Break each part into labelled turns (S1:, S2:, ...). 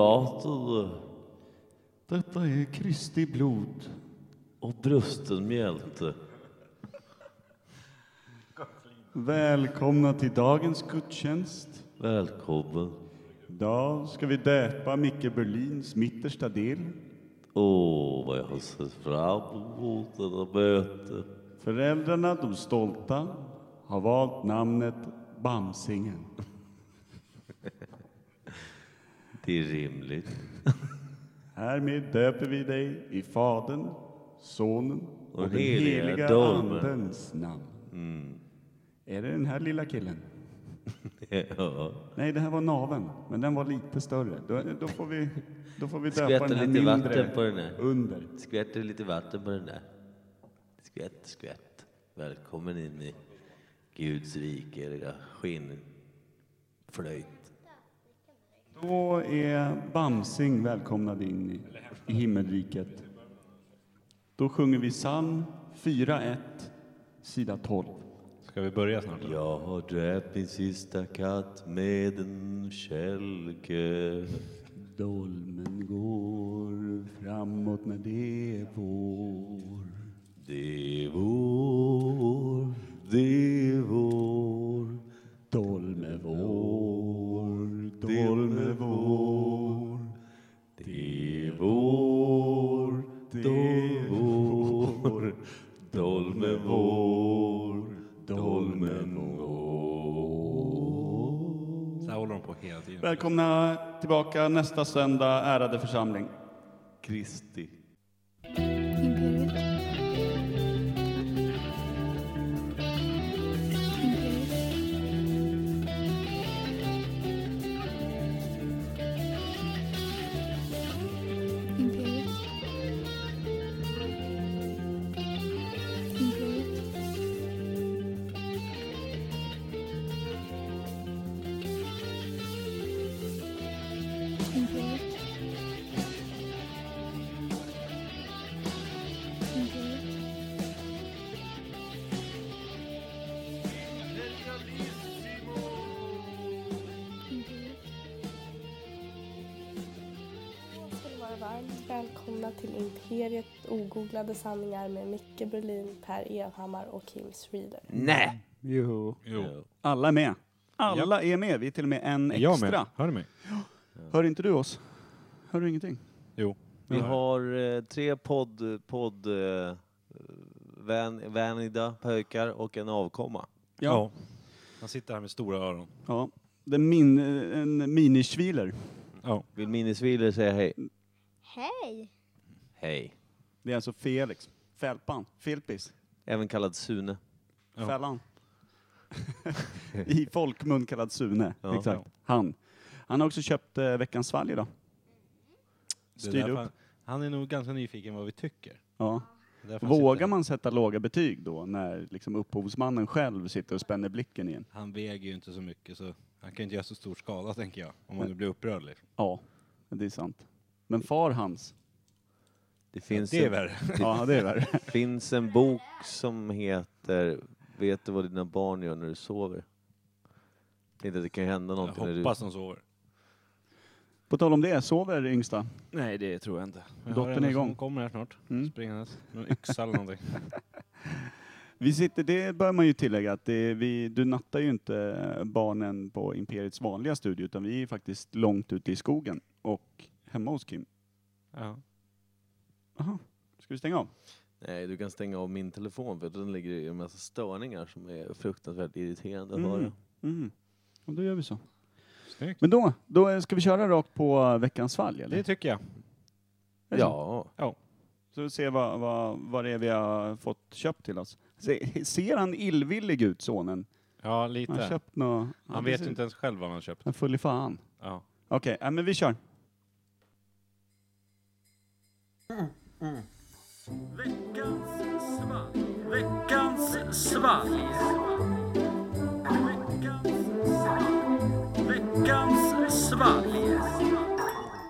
S1: Choklader
S2: Detta är Kristi blod.
S1: och brusten mjälte.
S2: Välkomna till dagens gudstjänst.
S1: Välkommen.
S2: Idag ska vi döpa Micke Berlins mittersta del.
S1: Åh, vad jag har sett fram emot detta möte.
S2: Föräldrarna, de stolta, har valt namnet Bamsingen.
S1: Det är rimligt.
S2: Härmed döper vi dig i Fadern, Sonen och den
S1: heliga Mm.
S2: heliga
S1: Dolmen.
S2: Andens namn. Är det den här lilla killen?
S1: Ja.
S2: Nej, det här var naven, men den var lite större. Då, då, får, vi, då får vi döpa
S1: Skvätter
S2: den här
S1: lite
S2: mindre
S1: vatten på den här.
S2: under.
S1: Skvätter lite vatten på den där. Skvätt, skvätt. Välkommen in i Guds rike, era skinnflöjt.
S2: Då är Bamsing välkomnad in i, i himmelriket. Då sjunger vi psalm 4.1, sida 12.
S3: Ska vi börja snart? eller?
S1: Jag har döpt min sista katt med en kälke.
S2: Dolmen går framåt när det är vår.
S1: Det är vår, det är vår.
S2: Dolme vår, dolme vår.
S1: Det är vår, det är vår. Dolme vår, dolmen vår.
S3: Så här håller de på hela tiden.
S2: Välkomna tillbaka nästa söndag, ärade församling.
S1: Kristi.
S4: Imperiet. Imperiet. Imperiet. Imperiet. Imperiet. Imperiet.
S5: Då ska ni vara varmt välkomna till Imperiet ogooglade sanningar med Micke Berlin, Per Evhammar och Kim Schreeder.
S1: Nej!
S2: Jo.
S3: Jo.
S2: Alla är med. Alla är med. Vi är till och med en
S3: Jag
S2: extra.
S3: med. Hör du mig?
S2: Hör inte du oss? Hör du ingenting?
S3: Jo.
S1: Vi har eh, tre podd, podd eh, vän, vänida pökar och en avkomma.
S3: Ja. Han sitter här med stora öron.
S2: Ja, det är min, en minisviler.
S3: Ja.
S1: Vill Minneswiller säga hej?
S6: Hej!
S1: Hej.
S2: Det är alltså Felix. Fälpan. Filpis.
S1: Även kallad Sune.
S3: Ja.
S2: Fällan. I folkmun kallad Sune.
S1: Ja.
S2: Exakt. Han. Han har också köpt eh, Veckans svalg idag.
S3: Det är
S2: Styr
S3: därför
S2: upp.
S3: Han, han är nog ganska nyfiken vad vi tycker.
S2: Ja.
S3: Det är därför han sitter
S2: Vågar
S3: här.
S2: man sätta låga betyg då när liksom upphovsmannen själv sitter och spänner blicken igen?
S3: Han väger ju inte så mycket så han kan ju inte göra så stor skada tänker jag. Om man nu blir upprörd liksom.
S2: Ja, det är sant. Men far hans.
S1: Det finns,
S3: Det är
S1: en,
S3: värre.
S2: Ja, det är värre.
S1: finns en bok som heter Vet du vad dina barn gör när du sover? Inte att det kan hända
S3: Jag
S1: någonting när du...
S3: hoppas de sover.
S2: På tal om det, sover yngsta?
S3: Nej det tror jag inte.
S2: Dottern är igång.
S3: kommer här snart.
S2: Mm.
S3: Springandes. Någon yxa eller någonting.
S2: Vi sitter, det bör man ju tillägga att det är, vi, du nattar ju inte eh, barnen på Imperiets vanliga studio utan vi är faktiskt långt ute i skogen och hemma hos Kim.
S3: Ja.
S2: Aha. Ska vi stänga av?
S1: Nej, du kan stänga av min telefon för den ligger i en massa störningar som är fruktansvärt irriterande att
S2: Mm.
S1: höra.
S2: Mm. Och då gör vi så.
S3: Snyggt.
S2: Men då, då är- ska vi köra rakt på veckans fall eller?
S3: Det tycker jag.
S2: Är det så?
S1: Ja,
S2: typ- Så vi ser vad, vad, vad det är vi har fått köpt till oss. Se, ser han illvillig ut sonen?
S3: Ja
S2: Han har
S3: lite.
S2: köpt något. ja,
S3: Han
S2: det
S3: vet
S2: ser-
S3: inte ens själv vad han har köpt.
S2: Han är full i fan.
S3: Ja.
S2: Okej, ja, men vi kör.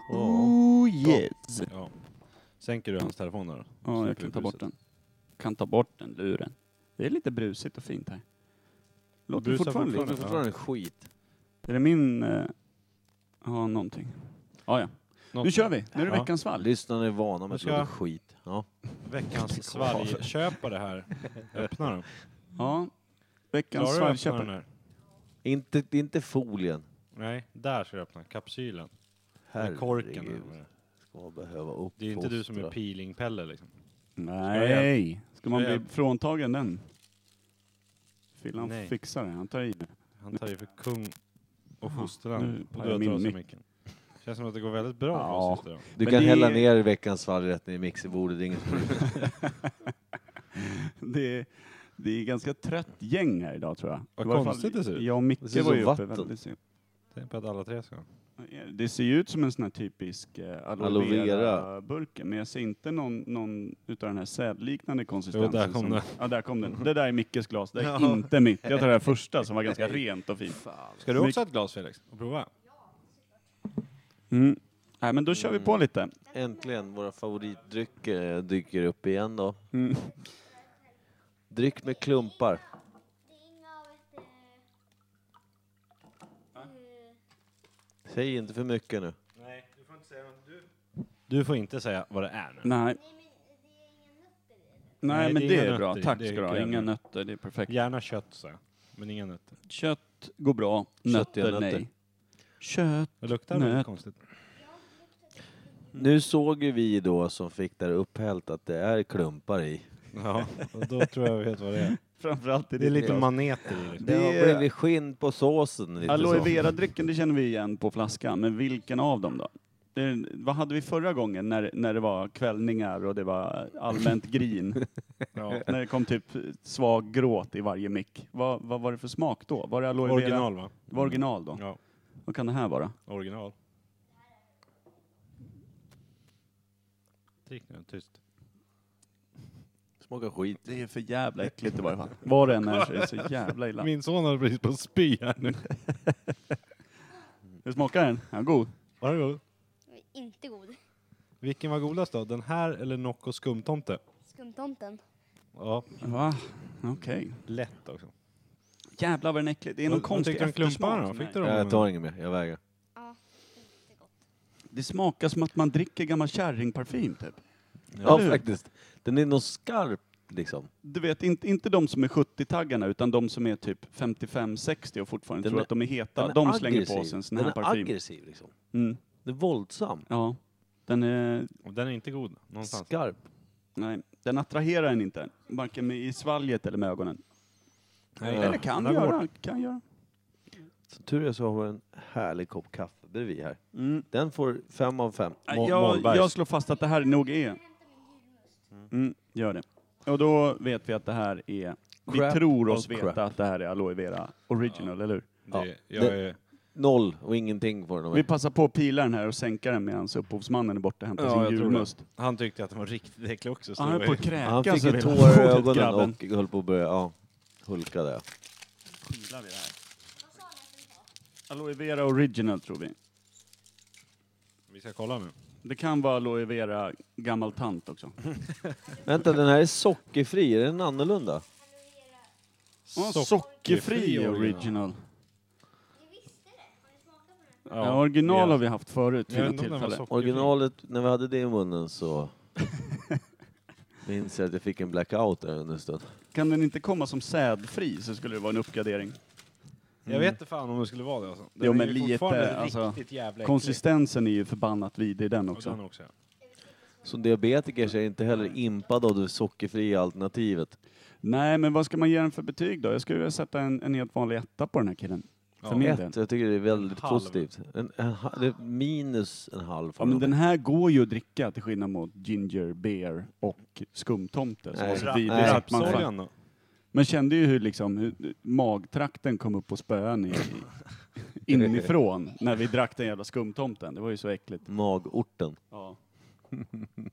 S2: Oh yes!
S3: ja. Sänker du hans telefon där då?
S2: Ja, jag
S3: Släpper
S2: kan
S3: vi
S2: ta bort
S3: bruset.
S2: den. Kan ta bort den luren. Det är lite brusigt och fint här. Låter
S3: Brusar
S2: fortfarande
S1: det
S3: fortfarande.
S1: är fortfarande
S2: lite.
S1: skit.
S2: Är det min... eh, Ja, någonting. Ja, ja.
S6: Något-
S2: Nu kör vi! Nu är det
S6: Ja.
S2: veckans valg.
S1: Lyssnarna är vana med att
S3: Ska
S1: låta
S3: jag-
S1: skit. Ja.
S3: Veckans svalgköpare här. Öppna den.
S2: Ja. Veckans
S3: Klarar du att öppna den
S2: svalgköpare.
S3: här?
S1: Inte, inte folien.
S3: Nej, där ska du öppna. Kapsylen. Med korken.
S1: Herregud.
S3: över.
S1: Ska man behöva uppfostra.
S3: Det är inte du som är peeling-Pelle liksom.
S2: Nej! Ska man
S3: Ska jag
S2: bli fråntagen den? Fyllan
S3: Nej.
S2: fixar det, han tar i det.
S3: Han tar ju för kung och
S2: nu
S3: fosterland.
S2: tar jag
S3: Och du har
S2: min
S3: trasig
S2: mick.
S3: micken. Känns som att det går väldigt bra
S2: Ja.
S3: för oss just idag.
S1: Du
S2: Men
S1: kan
S2: det-
S1: hälla ner veckans fall rätt ner i mixerbordet. Det är inget problem.
S2: Det är, det är ganska trött gäng här idag tror jag.
S3: Vad
S2: I varje fall
S3: konstigt det ser ut.
S2: Jag och Micke
S1: Det ser ut
S2: var ju
S1: som
S2: uppe
S1: vatten.
S2: väldigt sent.
S3: Tänk på att alla tre ska.
S2: Det ser ju ut som en sån här typisk eh,
S1: Aloe
S2: aloe
S1: vera.
S2: vera-burken, men jag ser inte någon, någon utav den här sädliknande konsistensen.
S3: Jo, där kom
S2: som,
S3: den.
S2: Ja, där kom den. Det där är Mickes glas, det är
S3: Ja.
S2: inte mitt. Jag tar det här första som var ganska rent och fint.
S3: Ska du
S2: Mick-
S3: också ha ett glas Felix? Och prova?
S2: Mm. Nej, men då kör vi på lite.
S1: Äntligen, våra favoritdrycker eh, dyker upp igen då.
S2: Mm.
S1: Dryck med klumpar. Säg inte för mycket nu.
S3: Nej, du får inte säga vad du... Du får inte säga vad det är nu.
S2: Nej. Nej,
S3: Nej,
S2: men
S3: det är
S2: det
S3: inga
S2: är bra.
S3: nötter i.
S2: Tack
S3: Det är
S2: ska du ha.
S3: grädde.
S2: Inga nötter, det är perfekt.
S3: Gärna kött så. Men inga nötter.
S2: Kött går bra,
S1: Köttiga
S2: nötter
S1: nötter.
S2: nej. Kött.
S3: Det luktar väldigt
S2: Nöt.
S3: konstigt.
S1: Nu såg ju vi då som fick där upphällt att det är klumpar i.
S3: Ja, och då tror jag vi vet vad det är.
S2: Framförallt i
S3: Det är
S2: ditt
S3: lite
S2: glas.
S3: maneter i liksom.
S1: Det har
S2: Det-
S1: blivit skinn på såsen lite
S2: Aloe
S1: så.
S2: vera-drycken, det känner vi igen på flaskan, men vilken av dem då? Det, vad hade vi förra gången när, när det var kvällningar och det var allmänt grin?
S3: Ja.
S2: när det kom typ svag gråt i varje mick. Vad, vad var det för smak då? Var det aloe vera?
S3: Original va?
S2: Det var original då?
S3: Ja,
S2: Vad kan det här vara?
S3: original. Drick nu, tyst.
S1: Smakar skit.
S2: Det är för jävla äckligt i varje fall. Vad det än är så är det så jävla illa.
S3: Min son håller precis på att spy här nu.
S2: Hur smakar den? Ja, god.
S3: Var det god?
S7: Inte god.
S3: Vilken var godast då? Den här eller Nocco skumtomte?
S7: Skumtomten.
S3: Ja,
S2: Va? Okej.
S3: lätt också.
S2: Jävlar vad den är äcklig. Det är någon
S3: Vad- vad
S2: konstig
S3: tyckte du om klumparna
S2: eftersmak.
S3: då?
S2: som
S3: Fick
S2: är-
S3: du dem?
S1: Jag tar inget mer, jag vägrar.
S7: Ja.
S2: Det smakar som att man dricker gammal kärringparfym typ.
S1: Ja,
S2: Eller hur?
S1: faktiskt. Den är nog skarp liksom.
S2: du vet, inte, inte de som är 70-taggarna utan de som är typ 55-60 och fortfarande
S1: Den
S2: tror
S1: är-
S2: att de är heta.
S1: Den är
S2: De slänger på
S1: aggressiv.
S2: sig en sån
S1: Den
S2: här
S1: är
S2: parfym.
S1: aggressiv liksom.
S2: Mm.
S1: Den är våldsam.
S2: Ja. Den, är,
S3: Och Den är inte god någonstans.
S1: Skarp.
S2: nej, den attraherar en inte, varken med, i svalget eller med ögonen.
S3: Nej,
S2: Eller kan
S3: den går
S2: göra. Kan göra.
S1: Som tur är så har vi en härlig kopp kaffe bredvid här.
S2: Mm.
S1: Den får fem av fem.
S2: Nej,
S3: Mo-
S2: Äh, Jag,
S3: Mollbergs.
S2: jag slår fast att det här nog är... Mm, gör det. Och då vet vi att det här är...
S1: Crap
S2: vi tror oss
S1: of crap.
S2: veta att det här är aloe vera original, eller hur?
S3: Det,
S1: Ja.
S3: jag
S1: Det-
S3: är,
S1: Noll och ingenting får den.
S2: Vi passar på att pila den här och sänka den medan upphovsmannen är borta och hämtar
S3: Ja,
S2: sin
S3: jag tror det.
S2: julmust.
S3: han tyckte att den var riktigt äcklig också. Så
S2: Han höll på att
S3: det var
S2: kräkas
S1: Han fick ju
S2: över hela
S1: tårar i
S2: bordet,
S1: ögonen
S2: grabben.
S1: och höll på att börja ja, hulka där.
S2: Aloe vera original tror vi.
S3: ju- vi ska kolla nu.
S2: Det kan vara aloe vera gammal tant också.
S1: Vänta, den här är sockerfri. Är den annorlunda?
S2: Ja, sockerfri original. Ja,
S3: Ja,
S2: original
S3: ja.
S2: har vi haft förut vid
S3: Jag vet
S2: något
S3: inte om den var
S2: tillfälle.
S3: sockerfri.
S1: Originalet, när vi hade det i munnen så minns jag att jag fick en blackout där under en stund.
S2: Kan den inte komma som sädfri så skulle det vara en uppgradering.
S3: Mm. Jag vet inte fan om det skulle vara det alltså. Den
S2: Jo,
S3: är
S2: men
S3: ju
S2: lite,
S3: fortfarande
S2: alltså,
S3: riktigt jävla äcklig.
S2: Konsistensen är ju förbannat vidrig den
S3: Och den
S2: också.
S3: också. ja.
S1: Som diabetiker så är jag inte heller impad av det sockerfria alternativet.
S2: Nej, men vad ska man ge den för betyg då? Jag skulle vilja sätta en, en helt vanlig etta på den här killen. För
S3: Ja.
S2: min del.
S1: Ett, jag tycker det är väldigt
S3: En halv.
S1: positivt. En, en, ha- det är minus en halv.
S2: Ja, men den här går ju att dricka till skillnad mot ginger beer och skumtomte. som
S1: Nej.
S2: var så
S1: Raps-
S2: vidrig
S1: Nej.
S2: att man fan-
S3: Rapsoljan då?
S2: Man kände ju hur, liksom, hur magtrakten kom upp på spön i, inifrån när vi drack den jävla skumtomten. Det var ju så äckligt.
S1: Magorten.
S2: Ja.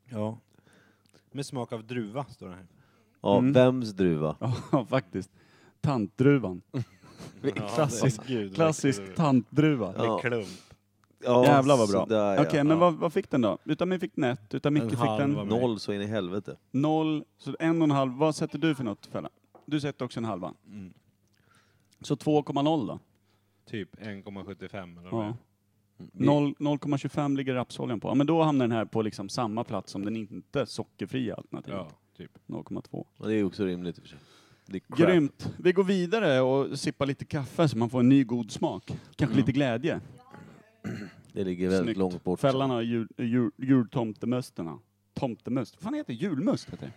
S3: Ja. Med smak av druva står det här.
S1: Ja,
S2: Mm.
S1: vems druva?
S2: faktiskt. Tantdruvan. klassisk- Klassisk tantdruva.
S1: Ja.
S3: Med klump.
S1: Ja,
S2: Jävlar vad bra.
S1: sådär, ja.
S2: Okej, men
S1: Ja.
S2: vad, vad fick den då? Utan mig fick den ett, utan Micke
S3: En
S2: fick
S3: halv
S2: den
S3: var-
S1: Noll så in i helvete.
S2: noll, så en och en halv. Vad sätter du för något Fälla? Du sätter också en halva.
S3: Mm.
S2: Så 2,0 då?
S3: Typ 1,75 eller
S2: Ja.
S3: ja.
S1: Vi-
S2: Noll- 0,25 ligger rapsoljan på. Ja, men då hamnar den här på liksom samma plats som den inte sockerfria alternativet.
S3: Ja, typ.
S2: 0,2.
S1: Ja, Det är också rimligt i och för sig. Det är crap.
S2: Grymt! Vi går vidare och sippar lite kaffe så man får en ny god smak. Kanske
S1: Mm.
S2: lite glädje.
S1: Det ligger väldigt
S2: Snyggt.
S1: långt bort.
S2: Fällan har jul, jul, jultomtemösterna. Tomtemöst? Vad fan heter det? Julmust heter det.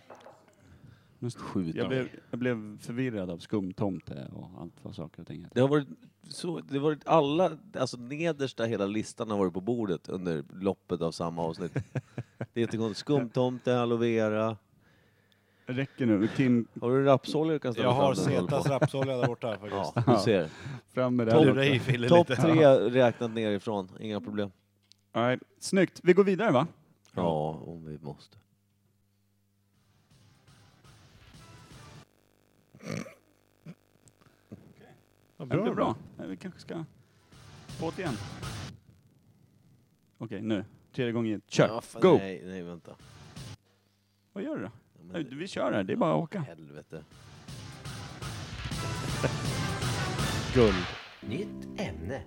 S2: Must.
S1: Skjut
S2: Jag
S1: av.
S2: blev, jag blev förvirrad av skumtomte och allt vad saker och ting heter.
S1: Det har varit, så, det har varit alla, alltså nedersta hela listan har varit på bordet under loppet av samma avsnitt. det är jättekonstigt. Skumtomte, aloe vera.
S2: Räcker nu. Tim,
S1: Har du rapsolja du kan ställa
S3: Jag har
S1: fram den och hålla
S3: Zetas
S1: på?
S3: rapsolja där borta
S1: Ja,
S3: faktiskt.
S1: du ser.
S2: fram med det.
S1: Tom-
S2: här
S3: Lura
S2: också.
S3: i Fille
S1: Topp
S3: lite.
S1: tre räknat nerifrån, inga problem.
S2: All right. Snyggt. Vi går vidare va?
S1: Ja, om vi måste.
S3: Ja,
S2: Det blir bra. Nej, Vi kanske ska... På igen. Okej, nu. Tredje gången gillt. Kör!
S1: Ja, fan,
S2: Go!
S1: Nej, nej vänta.
S2: Vad gör du då?
S1: Ja,
S2: Nej,
S1: men,
S2: Vi kör här, det är bara att åka.
S1: helvete.
S3: Guld.
S6: Nytt ämne.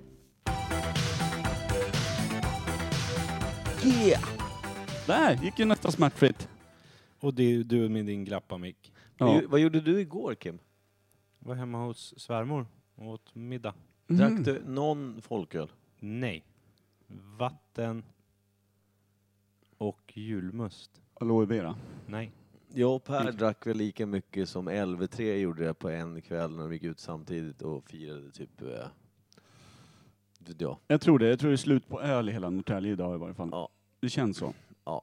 S2: Där gick ju nästan smärtfritt.
S3: Och det är du med din glappa mick.
S2: Ja. Mhm.
S1: Vad gjo- Vad gjorde du igår Kim?
S3: Var hemma hos svärmor och åt middag.
S2: Mhm.
S1: Drack du någon folköl?
S3: Nej. Vatten och julmust.
S2: Mm. Aloe vera.
S3: Nej.
S1: Jag och Per drack väl lika mycket som LV3 gjorde det på en kväll när de gick ut samtidigt och firade typ... Eh, vet jag.
S2: Jag tror det. Jag tror det är slut på öl i hela Norrtälje idag i varje fall.
S1: Ja.
S2: Det känns så.
S1: Ja.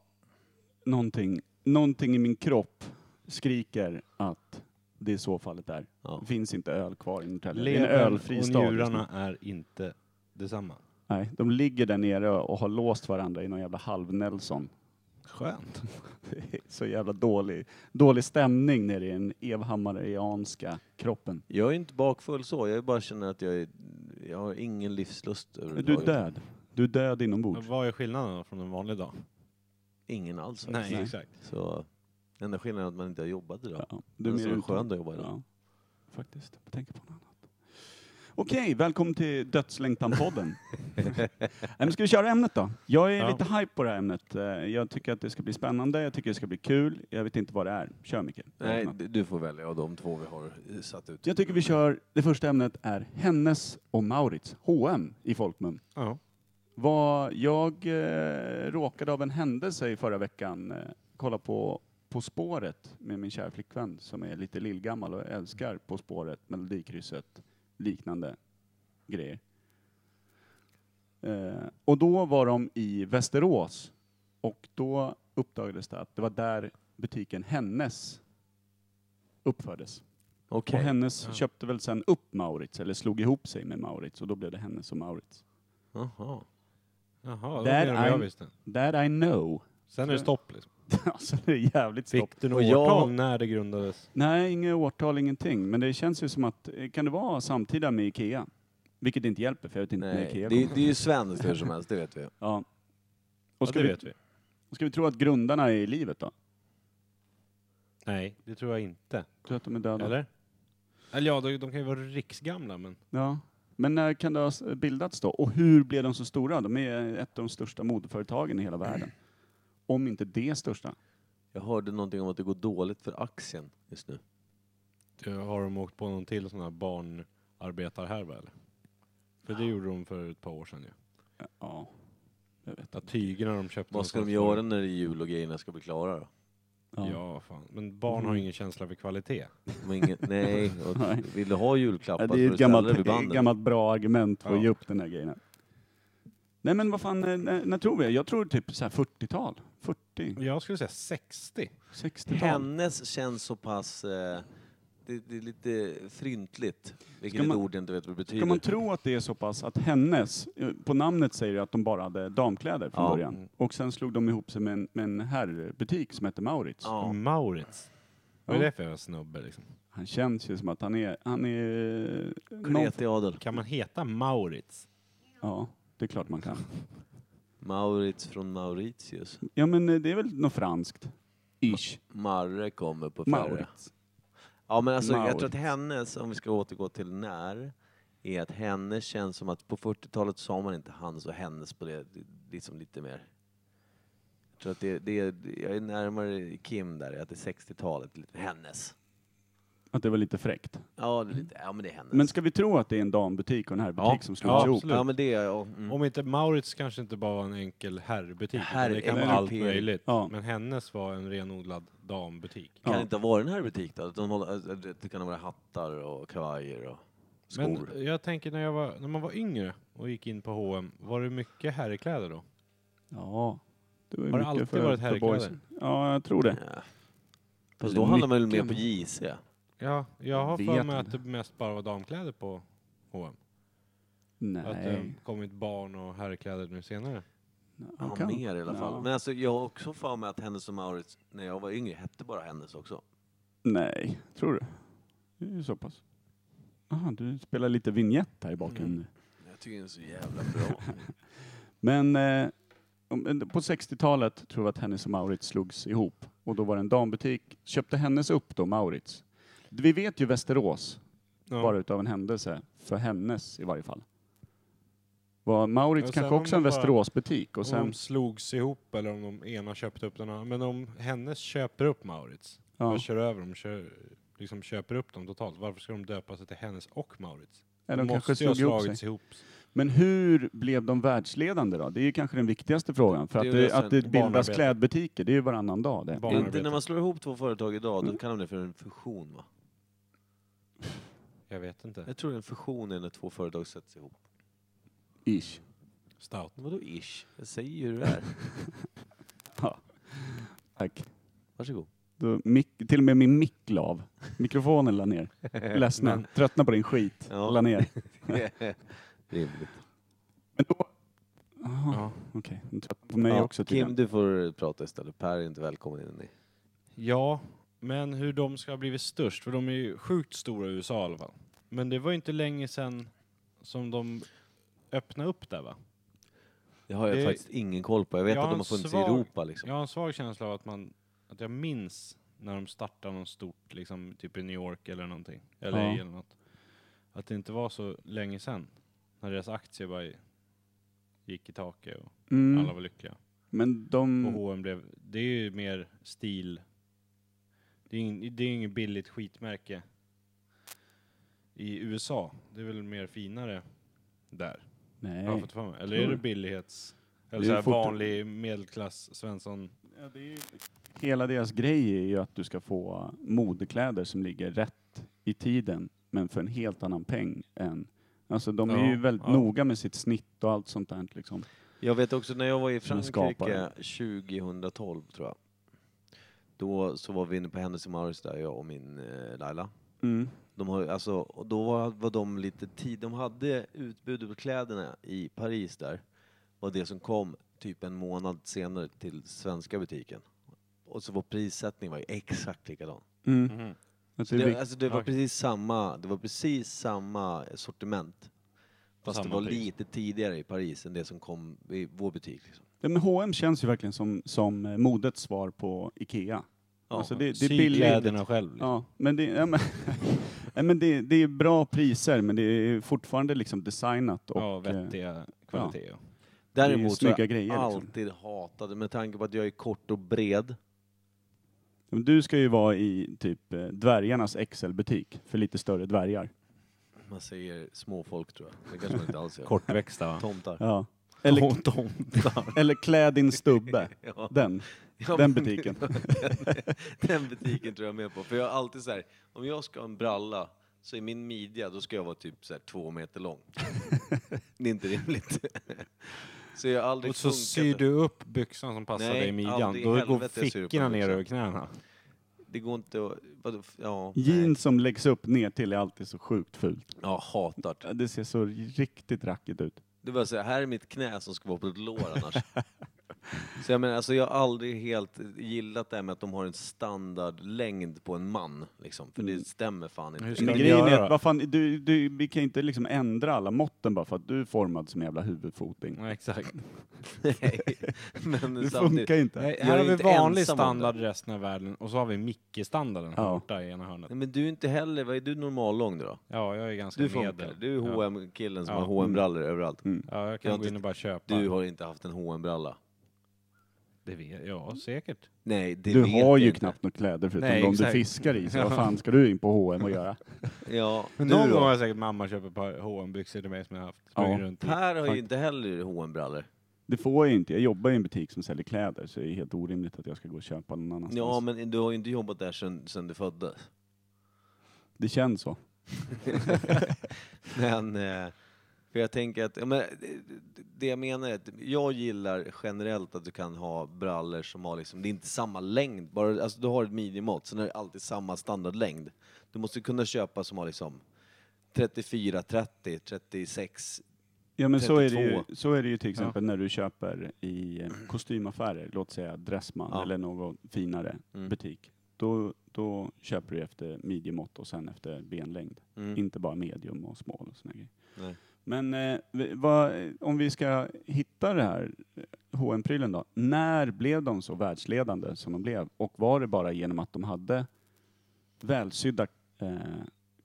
S2: Någonting, någonting i min kropp skriker att det är så fallet är.
S1: Ja.
S2: Det finns inte öl kvar i Norrtälje. Det är en
S3: Levern
S2: ölfri
S3: och
S2: stad. liksom. just nu.
S3: njurarna är inte detsamma.
S2: Nej, de ligger där nere och har låst varandra i någon jävla halv-Nelson.
S3: Skönt.
S2: Det är så jävla dålig, dålig stämning nere i den evhammarianska kroppen.
S1: Jag är inte bakfull så, jag bara känner att jag, är, jag har ingen livslust
S2: Du är
S1: överhuvudtaget.
S2: död. Du är död inombords.
S3: Vad är skillnaden då från en vanlig dag?
S1: Ingen alls faktiskt.
S3: Nej,
S2: Nej.
S3: exakt.
S1: Så enda skillnaden är att man inte har jobbat idag.
S2: Ja,
S1: Det
S2: du
S1: är
S2: är
S1: en sån
S2: mer
S1: skön
S2: skön.
S1: dag att jobba idag.
S2: Ja, faktiskt. Jag tänker på något annat. Okej, välkommen till Dödslängtan-podden. Nej, men ska vi köra ämnet då? Jag är
S3: Ja.
S2: lite hype på det här ämnet. Eh, Jag tycker att det ska bli spännande, jag tycker det ska bli kul. Jag vet inte vad det är. Kör Micke.
S1: Nej, d- du får välja av de två vi har eh, satt ut.
S2: Jag tycker vi kör, det första ämnet är Hennes och Maurits, H&M i folkmun.
S3: Ja.
S2: Vad jag eh, råkade av en händelse i förra veckan eh, kolla på På spåret med min kära flickvän som är lite lillgammal och älskar På spåret, Melodikrysset, liknande grejer. Eh, och då var de i Västerås och då uppdagades det att det var där butiken Hennes uppfördes.
S1: Okej.
S2: Och Hennes
S3: Ja.
S2: köpte väl sen upp Maurits, eller slog ihop sig med Maurits och då blev det Hennes och Maurits.
S1: Jaha.
S3: Jaha, det
S2: Där
S3: var mer än vad jag
S2: är-
S3: visste.
S2: That I know.
S3: Sen är det stopp liksom.
S2: alltså det är jävligt stopp.
S3: Fick du
S1: Och
S3: något
S1: jag-
S3: årtal när det grundades?
S2: Nej, inga årtal, ingenting. Men det känns ju som att, eh, kan det vara samtida med Ikea? Vilket inte hjälper, för jag vet inte när
S1: Nej,
S2: Ikea
S1: det,
S2: kommer.
S1: är- det är ju svenskt hur som helst, det vet vi.
S2: Ja.
S3: Ja,
S2: Och ska,
S3: det
S2: vi,
S3: vet vi.
S2: ska vi tro att grundarna är i livet då?
S3: Nej, det tror jag inte.
S2: Tror att de är döda?
S3: Eller? Eller ja, de, de kan ju vara riksgamla men...
S2: Ja. Men när kan det ha s- bildats då? Och hur blev de så stora? De är ett av de största modeföretagen i hela världen. Om inte det största.
S1: Jag hörde någonting om att det går dåligt för aktien just nu.
S3: Har de åkt på någon till sån här barnarbetarhärva eller? För det gjorde de för ett par år sedan ju.
S2: Ja, jag vet.
S3: Att tygerna de köpte...
S1: Vad ska de
S3: någonstans
S1: göra när det är jul och grejerna ska bli klara då?
S3: var- Ja, fan. Men barn har ju ingen känsla för kvalitet.
S1: De har ingen, nej, och
S2: Nej.
S1: vill du ha julklappar
S2: Ja,
S1: så
S2: det är
S1: får
S2: ett
S1: du ställa dig
S2: gammalt,
S1: vid banden.
S2: gammalt bra argument för att
S3: Ja.
S2: ge upp den här grejen. Nej men vad fan, eh, när, när tror vi? Jag tror typ så här 40-tal. 40,
S3: Jag skulle säga 60.
S2: 60-tal.
S1: Hennes känns så pass... Eh, det, det är lite fryntligt, vilket
S2: Ska
S1: är ett
S2: man-
S1: ord jag inte vet vad det betyder.
S2: Kan man tro att det är så pass att hennes, eh, på namnet säger det att de bara hade damkläder från
S1: Ja.
S2: början. Och sen slog de ihop sig med en, med en herrbutik som hette Maurits.
S1: ja.
S3: Maurits. Det är
S2: Ja.
S3: därför jag är snubbe liksom.
S2: Han känns ju som att han är, han är... eh, någon-
S1: Kreti adel.
S3: Kan man heta Maurits?
S2: Ja, det är klart man kan.
S1: Maurits från Mauritius.
S2: Ja men eh, det är väl något franskt. Ish.
S1: Marre kommer på färre.
S2: Maurits.
S1: Ja men alltså jag tror att
S2: Maurits.
S1: hennes, om vi ska återgå till när, är att henne känns som att på 40-talet sa man inte hans och hennes på det, liksom lite mer. Jag tror att det, det är, jag är närmare Kim där, att det är 60-talet, lite hennes.
S2: Att det var lite fräckt.
S1: Ja, det är lite, ja men det är hennes.
S2: Mm. Men ska vi tro att det är en dambutik och en herrbutik som slogs
S3: Ja,
S2: ihop?
S3: absolut.
S1: ja men det är ja, mm.
S3: Om inte Maurits kanske inte bara var en enkel herrbutik.
S1: Herr-
S3: Herr, det kan vara
S1: eller-
S3: allt möjligt.
S2: Ja.
S3: Men hennes var en renodlad dambutik.
S1: Kan
S2: Ja.
S1: det inte ha varit den här butik då? Utan hålla- äh, Det kan ha varit hattar och kavajer och skor.
S3: Men jag tänker när, jag var, när man var yngre och gick in på H&M var det mycket herrkläder då?
S2: Ja. Det var ju
S3: Har det
S2: mycket
S3: alltid
S2: för,
S3: varit
S2: för boys.
S3: herrkläder?
S2: Ja, jag tror det.
S1: ja. Fast
S2: Fast
S1: då handlar man väl mer
S2: mycket-
S1: på JC?
S3: Ja, jag har
S2: Vet
S3: för mig
S2: inte.
S3: att det mest bara var damkläder på H&M. Att
S1: eh,
S3: det
S2: Nej.
S3: har kommit barn och herrkläder nu senare.
S1: Ja,
S2: kan.
S1: mer i alla fall.
S2: Ja.
S1: Men alltså, jag har också för mig att Hennes och Mauritz, när jag var yngre, hette bara Hennes också.
S2: Nej, tror du? Det är ju så pass. Aha, du spelar lite vignett här i bakgrunden.
S3: Mm.
S1: Jag tycker den är så jävla bra.
S2: Men eh, om- en- på 60-talet tror jag att Hennes och Maurits slogs ihop. Och då var det en dambutik. Köpte Hennes upp då, Maurits. Vi vet ju Västerås,
S3: Ja.
S2: bara utav en händelse. För Hennes i varje fall. Var Maurits
S3: Och sen
S2: kanske
S3: om
S2: också en
S3: de bara-
S2: Västeråsbutik och
S3: Om
S2: sen...
S3: de slogs ihop eller om de ena köpte upp den andra. Men om hennes köper upp Maurits
S2: Ja,
S3: och kör över dem, kör, liksom köper upp dem totalt. Varför ska de döpa sig till hennes och Maurits?
S2: eller de kanske
S3: måste ju ha
S2: slog ihop sig.
S3: slagits ihop.
S2: Men hur blev de världsledande då? Det är ju kanske den viktigaste frågan. För
S1: Det är
S2: att
S1: ju
S2: det,
S1: sen-
S2: att det bildas
S3: barnarbete.
S2: klädbutiker, det är ju varannan dag det.
S3: Barn-
S1: inte när man slår ihop två företag idag, då
S2: Mm.
S1: kallar de det för en fusion va?
S3: Jag vet inte.
S1: Jag tror en fusion är när två företag sätts ihop.
S2: Ish.
S3: Stout.
S1: Vadå ish? Jag säger ju hur det är.
S2: Tack.
S1: Varsågod.
S2: Då, mic- till och med min mick la av. Mikrofonen la ner. Ledsna.
S3: Men-
S2: Tröttna på din skit.
S1: Ja.
S2: La ner.
S1: Rimligt.
S2: Men då... Jaha,
S3: Ja.
S2: okej. De Tröttna på mig
S1: Ja,
S2: också
S1: Kim,
S2: tydligen.
S1: du får prata istället. Per är inte välkommen in i.
S3: ja, men hur de ska ha blivit störst, för de är ju sjukt stora i USA i alla fall. Men det var ju inte länge sedan som de öppnade upp där va?
S1: Det har jag
S3: Det-
S1: faktiskt ingen koll på. Eh, Jag vet
S3: Jag
S1: att
S3: har
S1: de har
S3: en
S1: funnits
S3: svag-
S1: i Europa liksom.
S3: Jag har en svag känsla av att man, att jag minns när de startade något stort, liksom typ i New York eller någonting, eller
S2: Ja.
S3: LA eller något. Att det inte var så länge sedan, när deras aktie bara gick i taket och alla
S2: Mm.
S3: var lyckliga.
S2: Men de...
S3: Och H&M blev, det är ju mer stil, det är, ing, det är inget billigt skitmärke i USA. Det är väl mer finare där,
S2: Nej.
S3: har jag fått för mig. Eller
S2: Tror
S3: är det
S2: du?
S3: billighets,
S2: Det
S3: eller
S2: är
S3: så här
S2: fort-
S3: vanlig medelklass, svensson
S2: Ja, det är ju... Hela deras grej är ju att du ska få modekläder som ligger rätt i tiden, men för en helt annan peng än... Alltså de är
S3: Ja,
S2: ju väldigt
S3: ja.
S2: noga med sitt snitt och allt sånt där liksom.
S1: Jag vet också när jag var i
S2: Som en
S1: Frankrike
S2: skapare.
S1: 2012 tror jag. Då så var vi inne på Hennes och Mauritz där, jag och min eh, Laila.
S2: Mm.
S1: De har, ju- alltså, och då var, var de lite tid, de hade utbudet på kläderna i Paris där. Och det som kom typ en månad senare till svenska butiken. Och så var prissättningen var ju exakt likadan.
S2: Mm. Att det är
S1: Det,
S2: vikt-
S1: alltså det var
S3: Oj.
S1: precis samma, det var precis samma sortiment. Fast
S3: samma
S1: det var
S3: pris.
S1: lite tidigare i Paris än det som kom i vår butik. Liksom.
S2: Ja, men H&M känns ju verkligen som, som eh, modets svar på Ikea.
S1: Ja.
S2: Alltså det, det är
S3: Sy
S2: billigt.
S3: kläderna själv. Liksom.
S2: Ja, men det, ja, men, ja, men det, det är bra priser, men det är fortfarande liksom designat och
S3: ja,
S2: eh,
S3: vettiga kvaliteter.
S2: det är ju
S1: Däremot så har
S2: snygga
S1: jag
S2: grejer. Liksom.
S1: alltid hatade, med tanke på att jag är kort och bred.
S2: Men Du ska ju vara i typ eh, dvärgarnas XL-butik för lite större dvärgar.
S1: Man säger småfolk tror jag. Det kanske man inte alls gör.
S3: Kortväxta va?
S1: Tomtar.
S2: Ja. Eller,
S3: tomtar.
S2: eller klä din stubbe.
S1: Ja.
S2: Den,
S1: Ja,
S2: den
S1: men-
S2: butiken.
S1: den butiken tror jag med på. För jag har alltid så här, om jag ska ha en bralla så i min midja, då ska jag vara typ så här två meter lång. det är inte rimligt. så jag har aldrig
S3: Och så
S1: funkat.
S3: syr du upp byxan som passar
S1: Nej,
S3: dig i midjan.
S1: aldrig i
S3: Då går
S1: helvete syr du upp
S3: fickorna
S1: en
S3: ner
S1: byxa.
S3: över knäna.
S1: Det går inte att... Vadå, ja, nej.
S2: Jeans som läggs upp ner till är alltid så sjukt fult.
S1: ja, hatar det.
S2: Ja, Det ser så riktigt rackigt ut.
S1: Det var så här, här är mitt knä som ska vara på ett lår annars. Så jag menar, alltså jag har aldrig helt gillat det här med att de har en standardlängd på en man. Liksom, för
S2: Mm.
S1: det stämmer fan inte.
S3: Hur ska
S2: Men
S3: de
S2: grejen är
S3: göra
S2: att,
S3: då?
S2: vad fan, du, du, vi kan inte liksom ändra alla måtten bara för att du är formad som en jävla huvudfoting.
S3: Nej, exakt.
S1: Nej. Men samtidigt,
S2: Det funkar inte.
S3: Nej,
S1: Jag
S3: här
S1: är
S3: har vi
S1: inte
S3: vanlig
S1: ensam om
S3: standard resten av världen och så har vi Micke-standarden här
S2: Ja.
S3: borta i ena hörnet.
S1: Nej, men du är inte heller, vad är du normallång då?
S3: Ja, jag är ganska
S1: Du funkar.
S3: medel.
S1: Du är
S3: Ja.
S1: H&M-killen som
S3: Ja.
S1: har H&M-brallor överallt.
S3: Ja, jag
S1: Jag har
S3: kan gå
S1: inte-
S3: in och bara köpa.
S1: Du har inte haft en H&M-bralla.
S3: Det vet ja, säkert.
S1: Nej, det
S2: Du
S1: vet
S2: har
S1: jag
S2: ju
S1: inte.
S2: knappt några kläder förutom
S3: Nej,
S2: de
S3: exakt.
S2: du fiskar i, så vad fan ska du in på H&M och göra?
S1: Ja,
S3: Men
S1: du
S3: någon gång har
S1: då?
S3: jag säkert mamma köpt ett par hm byxor till mig som jag haft. Sprungit
S2: Ja.
S3: runt i.
S1: Per har ju
S2: Fakt-
S1: inte heller H&M-brallor.
S2: Det får jag ju inte, jag jobbar i en butik som säljer kläder så det är helt orimligt att jag ska gå och köpa någon annanstans.
S1: Ja, men du har ju inte jobbat där sedan, sedan du föddes.
S2: Det känns så.
S1: Men, eh, för jag tänker att, ja, men, det- det jag menar är att jag gillar generellt att du kan ha brallor som har liksom, det är inte samma längd, bara, alltså du har ett minimått, sen är det alltid samma standardlängd. Du måste kunna köpa som har liksom 34, 30, 36.
S2: Ja men så är, det ju,
S1: 32.
S2: så är det ju till exempel när du köper i eh, kostymaffärer, låt säga Dressman
S1: Ja.
S2: eller någon finare
S1: Mm.
S2: butik. Då, då köper du efter midjemått och sen efter benlängd.
S1: Mm.
S2: Inte bara medium och small och såna grejer.
S1: Nej.
S2: Men eh, vi- vad, om vi ska hitta det här eh, hm prylen då. När blev de så världsledande som de blev? Och var det bara genom att de hade välsydda eh,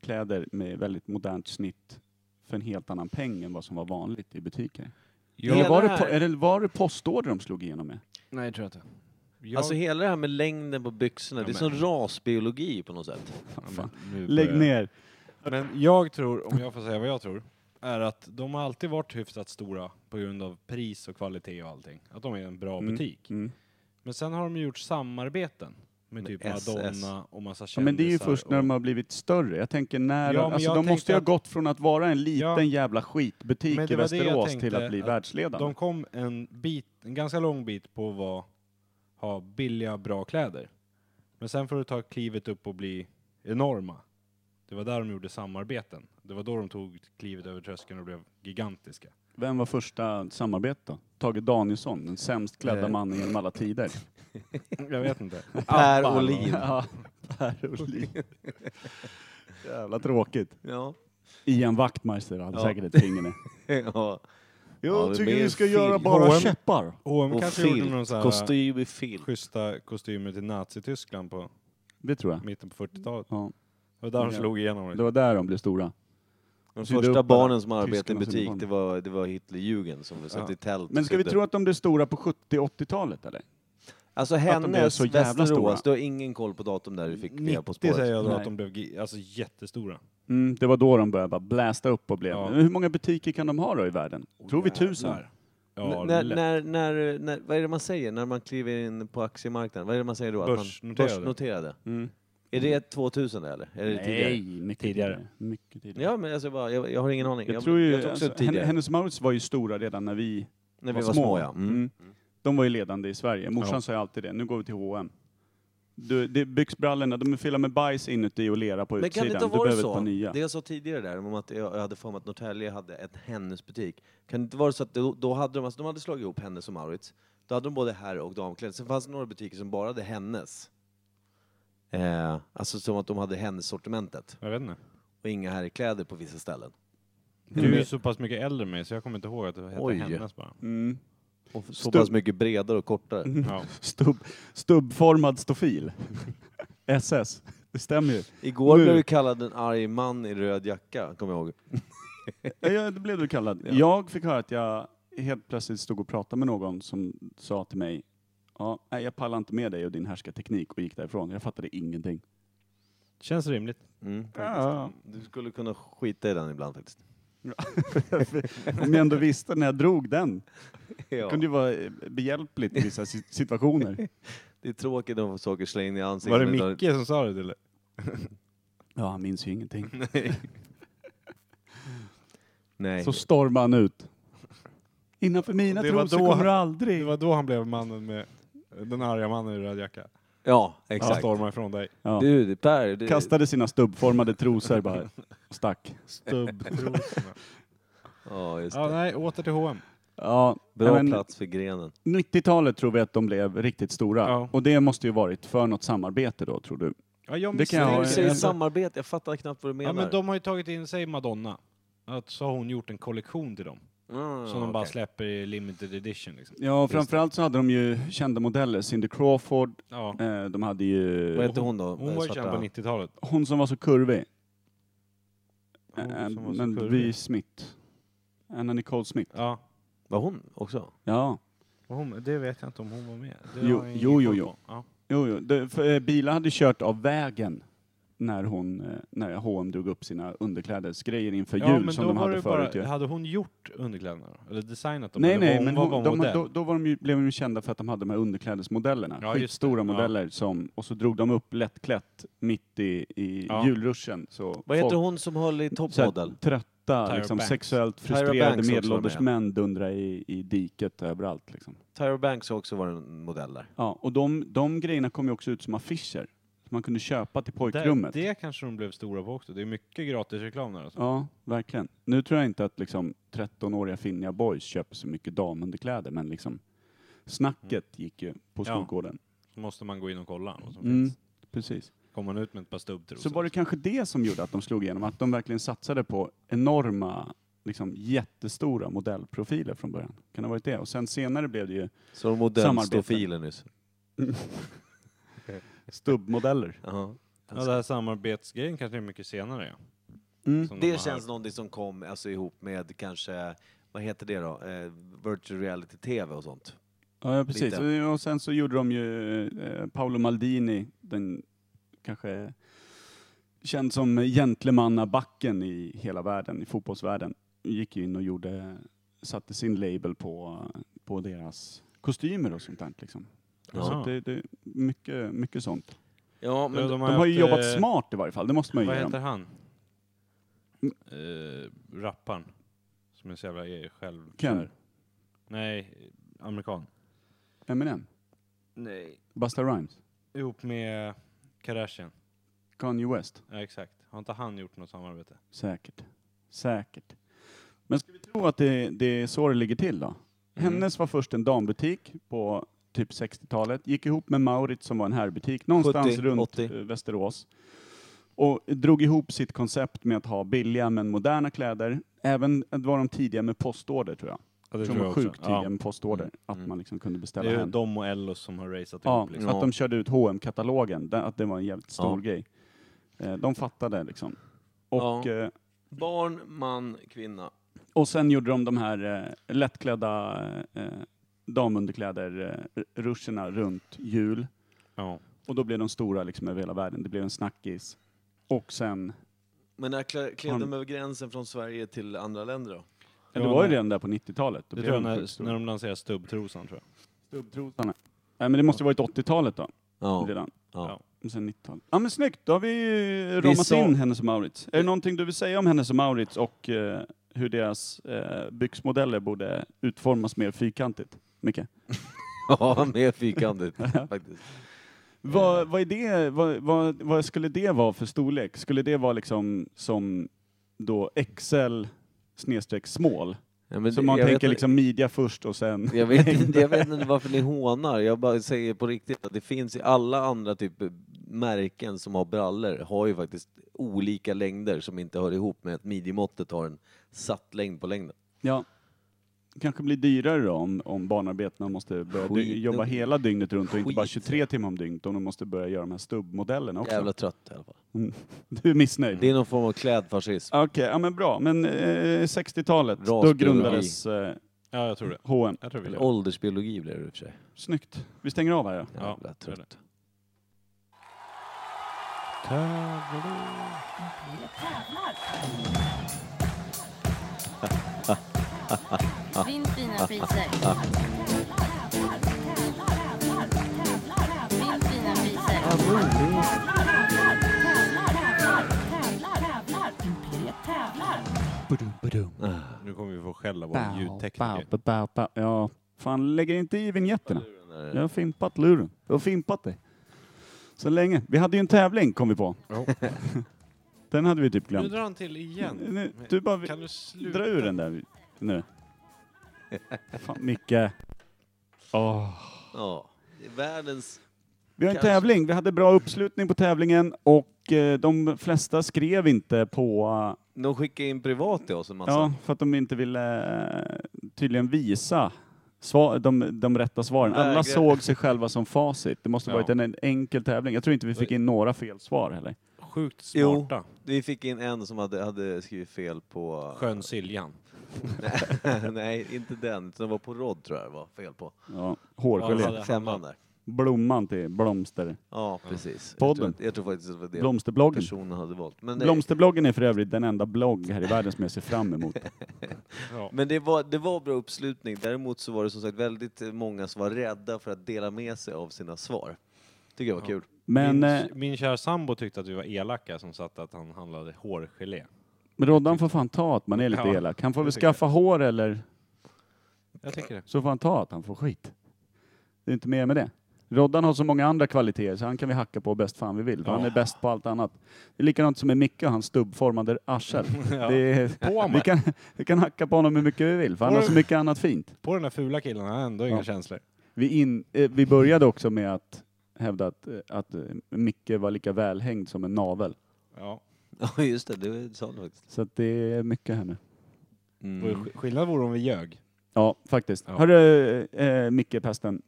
S2: kläder med väldigt modernt snitt för en helt annan peng än vad som var vanligt i butiker? eller,
S1: Hela
S2: var det
S1: det här-
S2: po- eller var det postorder de slog igenom med?
S3: Nej, tror jag inte. Jag...
S1: Alltså hela det här med längden på byxorna,
S3: Ja,
S1: det är
S3: men-
S1: som rasbiologi på något sätt.
S2: Ja,
S3: Ja,
S2: fan.
S3: men nu
S2: Lägg
S3: börjar-
S2: ner.
S3: Men jag tror, om jag får säga vad jag tror, är att de har alltid varit hyfsat stora på grund av pris och kvalitet och allting. Att de är en bra
S2: Mm.
S3: butik.
S2: Mm.
S3: Men sen har de gjort samarbeten med
S1: Med
S3: typ
S1: SS.
S3: Madonna och massa
S2: Ja,
S3: kändisar.
S2: men det är ju först när
S3: och...
S2: de har blivit större. Jag tänker när,
S3: Ja, men
S2: alltså
S3: jag
S2: de måste
S3: tänkte
S2: ju ha
S3: att-
S2: gått från att vara en liten
S3: Ja.
S2: jävla skitbutik
S3: Men
S2: i
S3: det var det jag
S2: Västerås
S3: tänkte,
S2: till att bli
S3: att
S2: världsledande.
S3: De kom en bit, en ganska lång bit på att vara- ha billiga, bra kläder. Men sen får du ta klivet upp och bli enorma. Det var där de gjorde samarbeten. Det var då de tog klivet över tröskeln och blev gigantiska.
S2: Vem var första samarbetet då? Tage Danielsson, den sämst klädda
S1: Eh.
S2: mannen genom alla tider.
S3: Jag vet inte.
S1: Per
S2: Fan.
S1: Olin.
S2: Ja, per Olin. Jävla tråkigt.
S1: Ja.
S2: Ian Wachtmeister hade
S1: Ja.
S2: säkert ett finger med.
S1: ja. Ja, det blir en film.
S3: H&M.
S2: käppar.
S3: H&M
S1: Och
S3: kanske gjorde någon
S1: filt,
S3: så här äh,
S1: kostym i filt.
S3: schyssta kostymer till Nazityskland på
S2: Det tror jag.
S3: mitten på 40-talet.
S2: Ja.
S3: Det var där de
S2: Ja.
S3: slog igenom.
S2: Det var där de blev stora.
S1: De
S2: sydde
S1: första
S2: upp alla
S1: barnen som arbetade i
S2: tyskarnas
S1: butik,
S2: uniform.
S1: det var, det var Hitlerjugend som satt
S3: Ja.
S1: i tält. och
S2: Men ska vi
S1: sydde.
S2: tro att de blev stora på 70-80-talet eller?
S1: Alltså
S2: de blev
S1: hennes
S2: så jävla stora?
S1: Västerås, du har ingen koll på datum där du fick via På
S3: 90
S1: spåret.
S3: säger jag då
S2: Nej.
S3: att de blev gi- alltså, jättestora.
S2: Mm, det var då de började bara blästa upp och blev...
S3: Ja.
S2: Hur många butiker kan de ha då i världen? tror vi tusen?
S3: Jävlar. Ja,
S1: N- när,
S3: lätt.
S1: när, när, när, vad är det man säger när man kliver in på aktiemarknaden? Vad är det man säger då?
S3: Börsnoterade.
S1: Man, börsnoterade.
S2: Mm.
S1: Är det 2000 eller? Är det tidigare?
S2: Nej, mycket tidigare. Mycket tidigare.
S1: Ja, men alltså bara, jag, jag har ingen aning.
S2: Jag, tror ju,
S1: jag tror också
S2: alltså,
S1: tidigare,
S2: Hen- Hennes Mauritz var ju stora redan när vi
S1: när vi var små. Ja. Mm.
S2: Mm. De var ju ledande i Sverige. Morsan
S3: Ja.
S2: sa ju alltid det, nu går vi till H&M. Du, det byggs brallorna, de är fyllda med bajs inuti och lera på
S1: Men kan
S2: utsidan.
S1: det inte
S2: du
S1: ha varit
S2: behöver ett
S1: så?
S2: par nya.
S1: Det jag sa tidigare där om att jag jag hade för mig att Norrtälje hade en Hennes-butik. Kan det inte vara så att då, då hade de, alltså, de hade slagit ihop Hennes och Maurits. Då hade de både herr och damkläder. Sen fanns det några butiker som bara hade Hennes. Eh, alltså som att de hade Hennes-sortimentet
S3: Jag vet inte.
S1: och inga herrkläder på vissa ställen.
S3: Du är ju så pass mycket äldre än mig så jag kommer inte ihåg att det hette
S1: Oj.
S3: hennes bara.
S2: Mm.
S1: Och så
S2: Stubb.
S1: pass mycket bredare och kortare.
S2: Mm.
S3: Ja.
S2: Stubb, stubbformad stofil. SS. Det stämmer ju.
S1: Igår
S2: Nu.
S1: blev du kallad en arg man i röd jacka, kommer jag ihåg.
S2: Ja, Ja, det blev du kallad. Jag fick höra att jag helt plötsligt stod och pratade med någon som sa till mig, ja, nej, jag pallar inte med dig och din härskarteknik och gick därifrån. Jag fattade ingenting.
S3: Känns rimligt.
S1: Mm,
S2: Ja.
S1: faktiskt. Du skulle kunna skita i den ibland faktiskt.
S2: Om jag ändå visste när jag drog den.
S1: Ja.
S2: kunde ju vara eh, behjälpligt i vissa si- situationer.
S1: Det är tråkigt att få saker slänga in i ansiktet.
S3: Var det
S1: men då-
S3: Micke som sa det eller?
S2: Ja, han minns ju ingenting.
S1: Nej.
S2: Så stormade han ut. Innanför mina
S3: Det var
S2: trosor
S3: då
S2: kommer
S3: han-
S2: du
S3: Det
S2: aldrig.
S3: var då han blev mannen med den arga mannen i röd jacka.
S1: Ja,
S3: Han
S1: exakt.
S3: stormar ifrån dig.
S2: Ja.
S1: Du, Per, du,
S2: Kastade sina stubbformade trosor bara och stack.
S3: Stubbtrosorna.
S1: Ja, just
S3: ja,
S1: det.
S3: nej, åter till H&M.
S2: Ja,
S1: Bra
S2: men
S1: plats för grenen.
S2: 90-talet tror vi att de blev riktigt stora.
S3: Ja.
S2: Och det måste ju varit för något samarbete då, tror du?
S3: Ja, jag
S2: Det kan jag
S1: När
S2: ha-
S1: du
S3: misstänker-
S1: säger samarbete, jag fattar knappt vad du menar.
S3: Ja, men de har ju tagit in sig Madonna. Att så har hon gjort en kollektion till dem.
S1: Mm,
S2: Ah,
S3: som de bara
S1: okej.
S3: släpper i limited edition liksom.
S2: Ja, framförallt så hade de ju kända modeller. Cindy Crawford,
S3: Ja.
S2: eh, de hade ju...
S1: Vad hette hon då?
S3: Hon var ju
S1: Svarta-
S3: känd på 90-talet.
S2: Hon som var så kurvig.
S3: Hon
S2: Eh,
S3: som var så
S2: men
S3: kurvig.
S2: vi Smith. Anna Nicole Smith.
S3: Ja.
S1: Var hon också?
S2: Ja.
S3: Hon, det vet jag inte om hon var med. Det
S2: Jo,
S3: har jag ingen
S2: jo, jo,
S3: koll
S2: jo.
S3: på. Ja.
S2: Jo, jo. Det, för, eh, Bila hade kört av vägen när hon, eh, när H&M drog upp sina underklädesgrejer inför
S3: Ja,
S2: jul
S3: men
S2: som
S3: då
S2: de
S3: var
S2: hade
S3: det bara,
S2: förut ju.
S3: hade hon gjort underkläderna då? Eller designat dem?
S2: Nej,
S3: Eller
S2: nej,
S3: var
S2: men
S3: hon,
S2: hon,
S3: var bara
S2: de,
S3: modell?
S2: då, då var de ju, blev de ju kända för att de hade de här underklädesmodellerna.
S3: Ja, just det.
S2: Stora
S3: Ja.
S2: modeller som, och så drog de upp lättklätt mitt i, i
S3: Ja.
S2: julruschen. Så
S1: Vad heter hon som höll i
S2: så här
S1: toppmodell?
S2: trötta,
S3: Tyra
S2: liksom,
S3: Banks.
S2: sexuellt
S1: Tyra
S2: frustrerade
S1: Banks också var
S2: medelålders
S1: med.
S2: män dundra i, i diket överallt. Liksom.
S1: Tyra Banks har också varit en modell där.
S2: Ja, och de, de grejerna kom ju också ut som affischer som man kunde köpa till pojkrummet.
S3: Där, det kanske de blev stora på också. Det är mycket gratisreklam där alltså.
S2: Ja, verkligen. Nu tror jag inte att liksom 13-åriga finniga boys köper så mycket damunderkläder, men liksom snacket gick ju på
S3: Mm. Ja.
S2: skolgården.
S3: Så måste man gå in och kolla vad som
S2: Mm,
S3: finns.
S2: precis.
S3: Kommer man ut med ett par stubbtrosor.
S2: Så var det kanske det som gjorde att de slog igenom, att de verkligen satsade på enorma, liksom jättestora modellprofiler från början. Kan det ha varit det? Och sen senare blev det ju
S1: Så de
S2: Samarbete.
S1: modellstofilen nyss.
S2: stubbmodeller.
S1: Jaha.
S3: Ja, det här samarbetsgrejen kanske är mycket senare. Ja.
S2: Mm.
S3: Som de har
S1: Det känns
S3: här.
S1: någonting som kom alltså, ihop med kanske, vad heter det då, eh, virtual reality-tv och sånt.
S2: Ja, ja, precis.
S1: Lite.
S2: Och sen så gjorde de ju eh, Paolo Maldini, den kanske känd som gentlemannabacken i hela världen, i fotbollsvärlden, gick in och gjorde, satte sin label på, på deras kostymer och sånt där. Liksom. Så
S1: Alltså.
S3: Jaha.
S2: att det, det är mycket, mycket sånt.
S1: Ja,
S3: Ja,
S1: men
S2: De har ju
S3: haft,
S2: jobbat
S3: eh,
S2: smart i varje fall, det måste man ju
S3: Vad
S2: ge
S3: heter
S2: dem. Mm.
S3: han? Uh, rapparen. Som är så jävla eh, själv...
S2: Ken,
S3: Nej, amerikan.
S2: Eminem,
S3: Nej.
S2: Busta Rhymes,
S3: Ihop med Kardashian.
S2: Kanye West.
S3: Ja, exakt. Har inte han gjort något samarbete?
S2: Säkert. Säkert. Men ska vi tro att det, det är så det ligger till då?
S3: Mm.
S2: Hennes var först en dambutik på typ 60-talet, gick ihop med Maurits som var en herrbutik någonstans
S1: 70,
S2: runt
S1: 80.
S2: eh, Västerås. Och drog ihop sitt koncept med att ha billiga men moderna kläder. Även att var de tidiga med postorder tror jag.
S3: Ja,
S2: Jag tror de var sjukt tidiga med postorder.
S1: Mm.
S2: Att
S1: Mm.
S2: man liksom kunde
S3: Det
S2: beställa
S3: är ju
S2: hem.
S3: de och Ellos som har raceat
S1: typ,
S2: Ja,
S3: ihop liksom.
S2: att de körde ut hm katalogen Att det var en jävligt stor
S1: Ja.
S2: grej. Eh, De fattade liksom. Och
S1: Ja.
S2: eh,
S1: barn, man, kvinna.
S2: Och sen gjorde de de här eh, lättklädda eh, damunderkläder-ruscherna runt jul.
S3: Ja.
S2: Och då blev de stora liksom över hela världen. Det blev en snackis. Och sen,
S1: Men när kla- klev
S2: Han-
S1: de över gränsen från Sverige till andra länder då?
S2: ja, det var ju redan där på 90-talet. Då
S3: Det
S2: blev
S3: tror jag
S2: de
S3: när,
S2: sjukt
S3: när
S2: stora.
S3: de lanserade stubbtrosan tror jag.
S2: Stubbtrosorna. Nej men det måste ju varit 80-talet då,
S1: Ja.
S2: redan.
S1: ja.
S2: Och sen 90-talet. Ja men snyggt, då har vi ju ramat
S1: sa-
S2: in Hennes och Mauritz. Är det någonting du vill säga om Hennes och Mauritz och eh, hur deras eh, byxmodeller borde utformas mer fyrkantigt? Micke?
S1: ja mer fyrkantigt faktiskt.
S2: Vad, vad, är det, vad, vad, vad skulle det vara för storlek? Skulle det vara liksom som då XL snedstreck small?
S1: Ja, men
S2: Så
S1: det-
S2: man
S1: jag vet
S2: tänker
S1: att-
S2: liksom midja först och sen...
S1: Jag vet, inte, jag vet inte varför ni hånar. Jag bara säger på riktigt att det finns i alla andra typ märken som har brallor har ju faktiskt olika längder som inte hör ihop med att midjemåttet har en satt längd på längden.
S2: Ja. Kanske blir dyrare då om, om barnarbetarna måste börja dy-
S1: Skit.
S2: jobba hela dygnet runt och inte bara
S1: Skit.
S2: 23 timmar om dygnet om de måste börja göra de här stubbmodellerna också. Mm.
S1: Jävla trött i alla fall.
S2: Du är missnöjd?
S1: Det är någon form av klädfascism.
S2: Okej, ja men bra. Men eh, 60-talet, då
S1: Rasbiologi.
S2: grundades eh,
S3: Ja, jag tror det.
S2: H&M.
S3: Jag tror vi
S1: Eller
S3: gör det.
S1: åldersbiologi blev det i och för sig.
S2: Snyggt. Vi stänger av här ja.
S3: Ja,
S1: Jävla
S3: det är
S1: trött.
S7: Vinn fina priser. Vinn fina priser.
S3: Nu kommer vi få skäll av vår ljudtekniker.
S2: Bow, bow, bow. Ja, fan lägger inte i vinjetterna. Jag
S1: Ja.
S2: har fimpat luren. Jag har fimpat dig. Så länge. Vi hade ju en tävling kom vi på. Den hade vi typ
S3: Nu
S2: glömt.
S3: drar han till igen.
S2: Nu, du bara
S3: Kan
S2: vi-
S3: du sluta?
S2: dra ur den där nu. Fan, Micke. Åh.
S1: Ja. Det är Världens...
S2: Vi har en
S1: Kanske.
S2: tävling. Vi hade bra uppslutning på tävlingen och eh, de flesta skrev inte på...
S1: De skickar in privat till oss en massa.
S2: Ja, för att de inte ville eh, tydligen visa svar, de, de rätta svaren. Alla
S1: Vägrar.
S2: såg sig själva som facit. Det måste
S3: Ja.
S2: varit en, en enkel tävling. Jag tror inte vi fick in några fel svar heller.
S3: Sjukt
S1: Jo.
S3: smarta.
S1: Vi fick in en som hade, hade skrivit fel på...
S3: Skön Siljan.
S1: Nej, inte den. utan Den var på rodd tror jag det var fel på.
S2: Ja,
S3: Ja,
S2: hårgelé.
S3: det hade
S1: Femman där.
S2: Blomman till blomster,
S1: Ja, precis. Jag
S2: Podden.
S1: tror, jag tror faktiskt att det var det
S2: blomsterbloggen.
S1: personen hade valt. Men eh, det,
S2: Blomsterbloggen är för övrigt den enda blogg här i världen som jag ser fram emot.
S3: Ja.
S1: men det, var, det var bra uppslutning. Däremot så var det som sagt väldigt eh, många som var rädda för att dela med sig av sina svar. Tycker jag var
S3: Ja.
S1: kul.
S2: Men eh,
S3: min, min kära sambo tyckte att vi var elaka som satte att han handlade hårgelé.
S2: Roddan får fan ta att man är lite
S3: Ja,
S2: elak. Han får
S3: det
S2: väl
S3: tycker jag.
S2: skaffa hår eller
S3: Jag tycker det.
S2: så får han ta att han får skit. Det är inte mer med det. Roddan har så många andra kvaliteter så han kan vi hacka på bäst fan vi vill. för
S3: Ja.
S2: Han är bäst på allt annat. Det är likadant som med Micke och hans stubbformade arsel.
S3: Ja.
S2: Det är,
S3: På
S2: vi,
S3: mig.
S2: kan, vi kan hacka på honom hur mycket vi vill för han har så mycket annat fint.
S3: På den här fula killen har jag ändå inga
S2: Ja.
S3: känslor.
S2: Vi, in, eh, vi började också med att hävda att, eh, att eh, Micke var lika välhängd som en navel.
S3: Ja.
S1: Ja, just det. Det sa du faktiskt. Mm.
S2: Så att det är mycket här nu. Mm.
S3: Sk- Skillnad vore om vi ljög.
S2: Ja, faktiskt.
S3: Ja.
S2: Hörru, eh, Micke Pesten.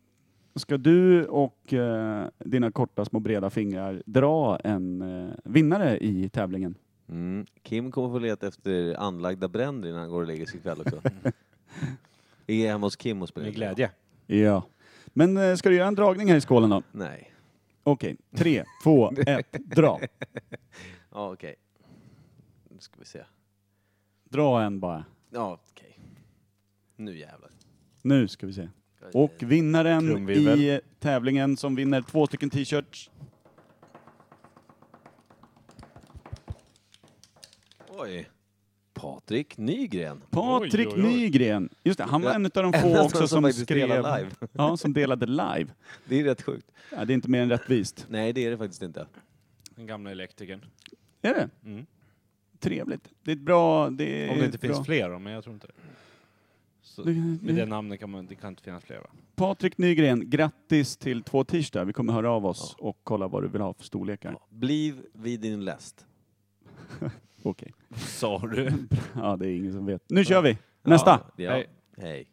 S2: Ska du och eh, dina korta små breda fingrar dra en eh, vinnare i tävlingen?
S1: Mm. Kim kommer få leta efter anlagda bränder innan han går och lägger sig ikväll också. Vi är hemma hos Kim och spelar
S3: Med
S1: in.
S3: glädje.
S2: Ja. Men eh, ska du göra en dragning här i skålen då?
S1: Nej.
S2: Okej, tre, två, ett, dra.
S1: Ja, okej. Nu ska vi se.
S2: Dra en bara.
S1: Ja, okej. Nu jävlar.
S2: Nu ska vi se. Och vinnaren
S3: Trumvirvel.
S2: i tävlingen som vinner två stycken t-shirts.
S1: Oj. Patrik Nygren.
S2: Patrik
S3: Oj, oj, oj.
S2: Nygren. Just det, han var
S1: Ja.
S2: en av de
S1: En
S2: få också
S1: som
S2: som
S1: faktiskt
S2: skrev...
S1: delade live.
S2: Ja, som delade live.
S1: Det är rätt sjukt.
S2: Ja, det är inte mer än rättvist.
S1: Nej, det är det faktiskt inte.
S3: Den gamla elektrikern.
S2: Är det?
S3: Mm.
S2: Trevligt. Det är ett bra... Det är
S3: Om det inte
S2: ett bra.
S3: finns fler då, men jag tror inte det. Så,
S2: Du-
S3: med det namnet kan man, det kan inte finnas fler va?
S2: Patrik Nygren, grattis till två t-shirtar. Vi kommer höra av oss och kolla vad du vill ha för storlekar.
S1: Ja. Bliv vid din läst.
S2: Okej.
S3: Sa du?
S2: Ja, det är ingen som vet. Nu kör vi! Nästa!
S1: Ja. ja.
S3: Hej.
S1: Hej.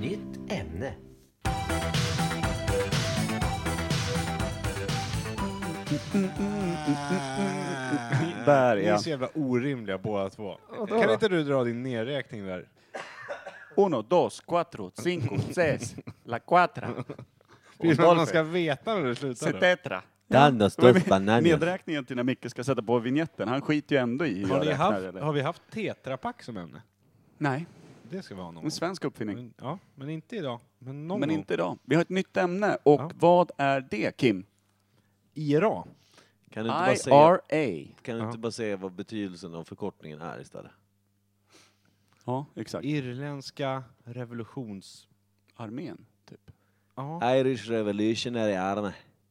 S6: Nytt ämne.
S2: Där
S3: Ni är
S2: ja.
S3: så jävla orimliga båda två. Kan inte du dra din nerräkning där?
S2: Uno, dos, cuatro, cinco, seis, la cuatra,
S3: Precis som att man ska veta när du slutar. då.
S2: tetra.
S1: Danos dos bananer.
S2: Nedräkningen till när Micke ska sätta på vignetten. Han skiter ju ändå i hur
S3: Har,
S2: jag
S3: ni
S2: räknar.
S3: haft,
S2: eller?
S3: har vi haft tetrapack som ämne?
S2: Nej,
S3: Det ska vi ha någon
S2: en
S3: gång.
S2: svensk uppfinning.
S3: Men, ja, men inte idag. Men någon
S2: Men
S3: gång.
S2: inte idag. Vi har ett nytt ämne och
S3: Ja.
S2: vad är det Kim?
S3: IRA.
S1: Kan du inte bara säga,
S2: IRA.
S1: kan du
S3: Ja.
S1: inte bara säga vad betydelsen av förkortningen är istället?
S2: Ja, exakt.
S3: Irländska revolutions...
S2: armén, typ.
S3: Ja.
S1: Irish Revolutionary Army.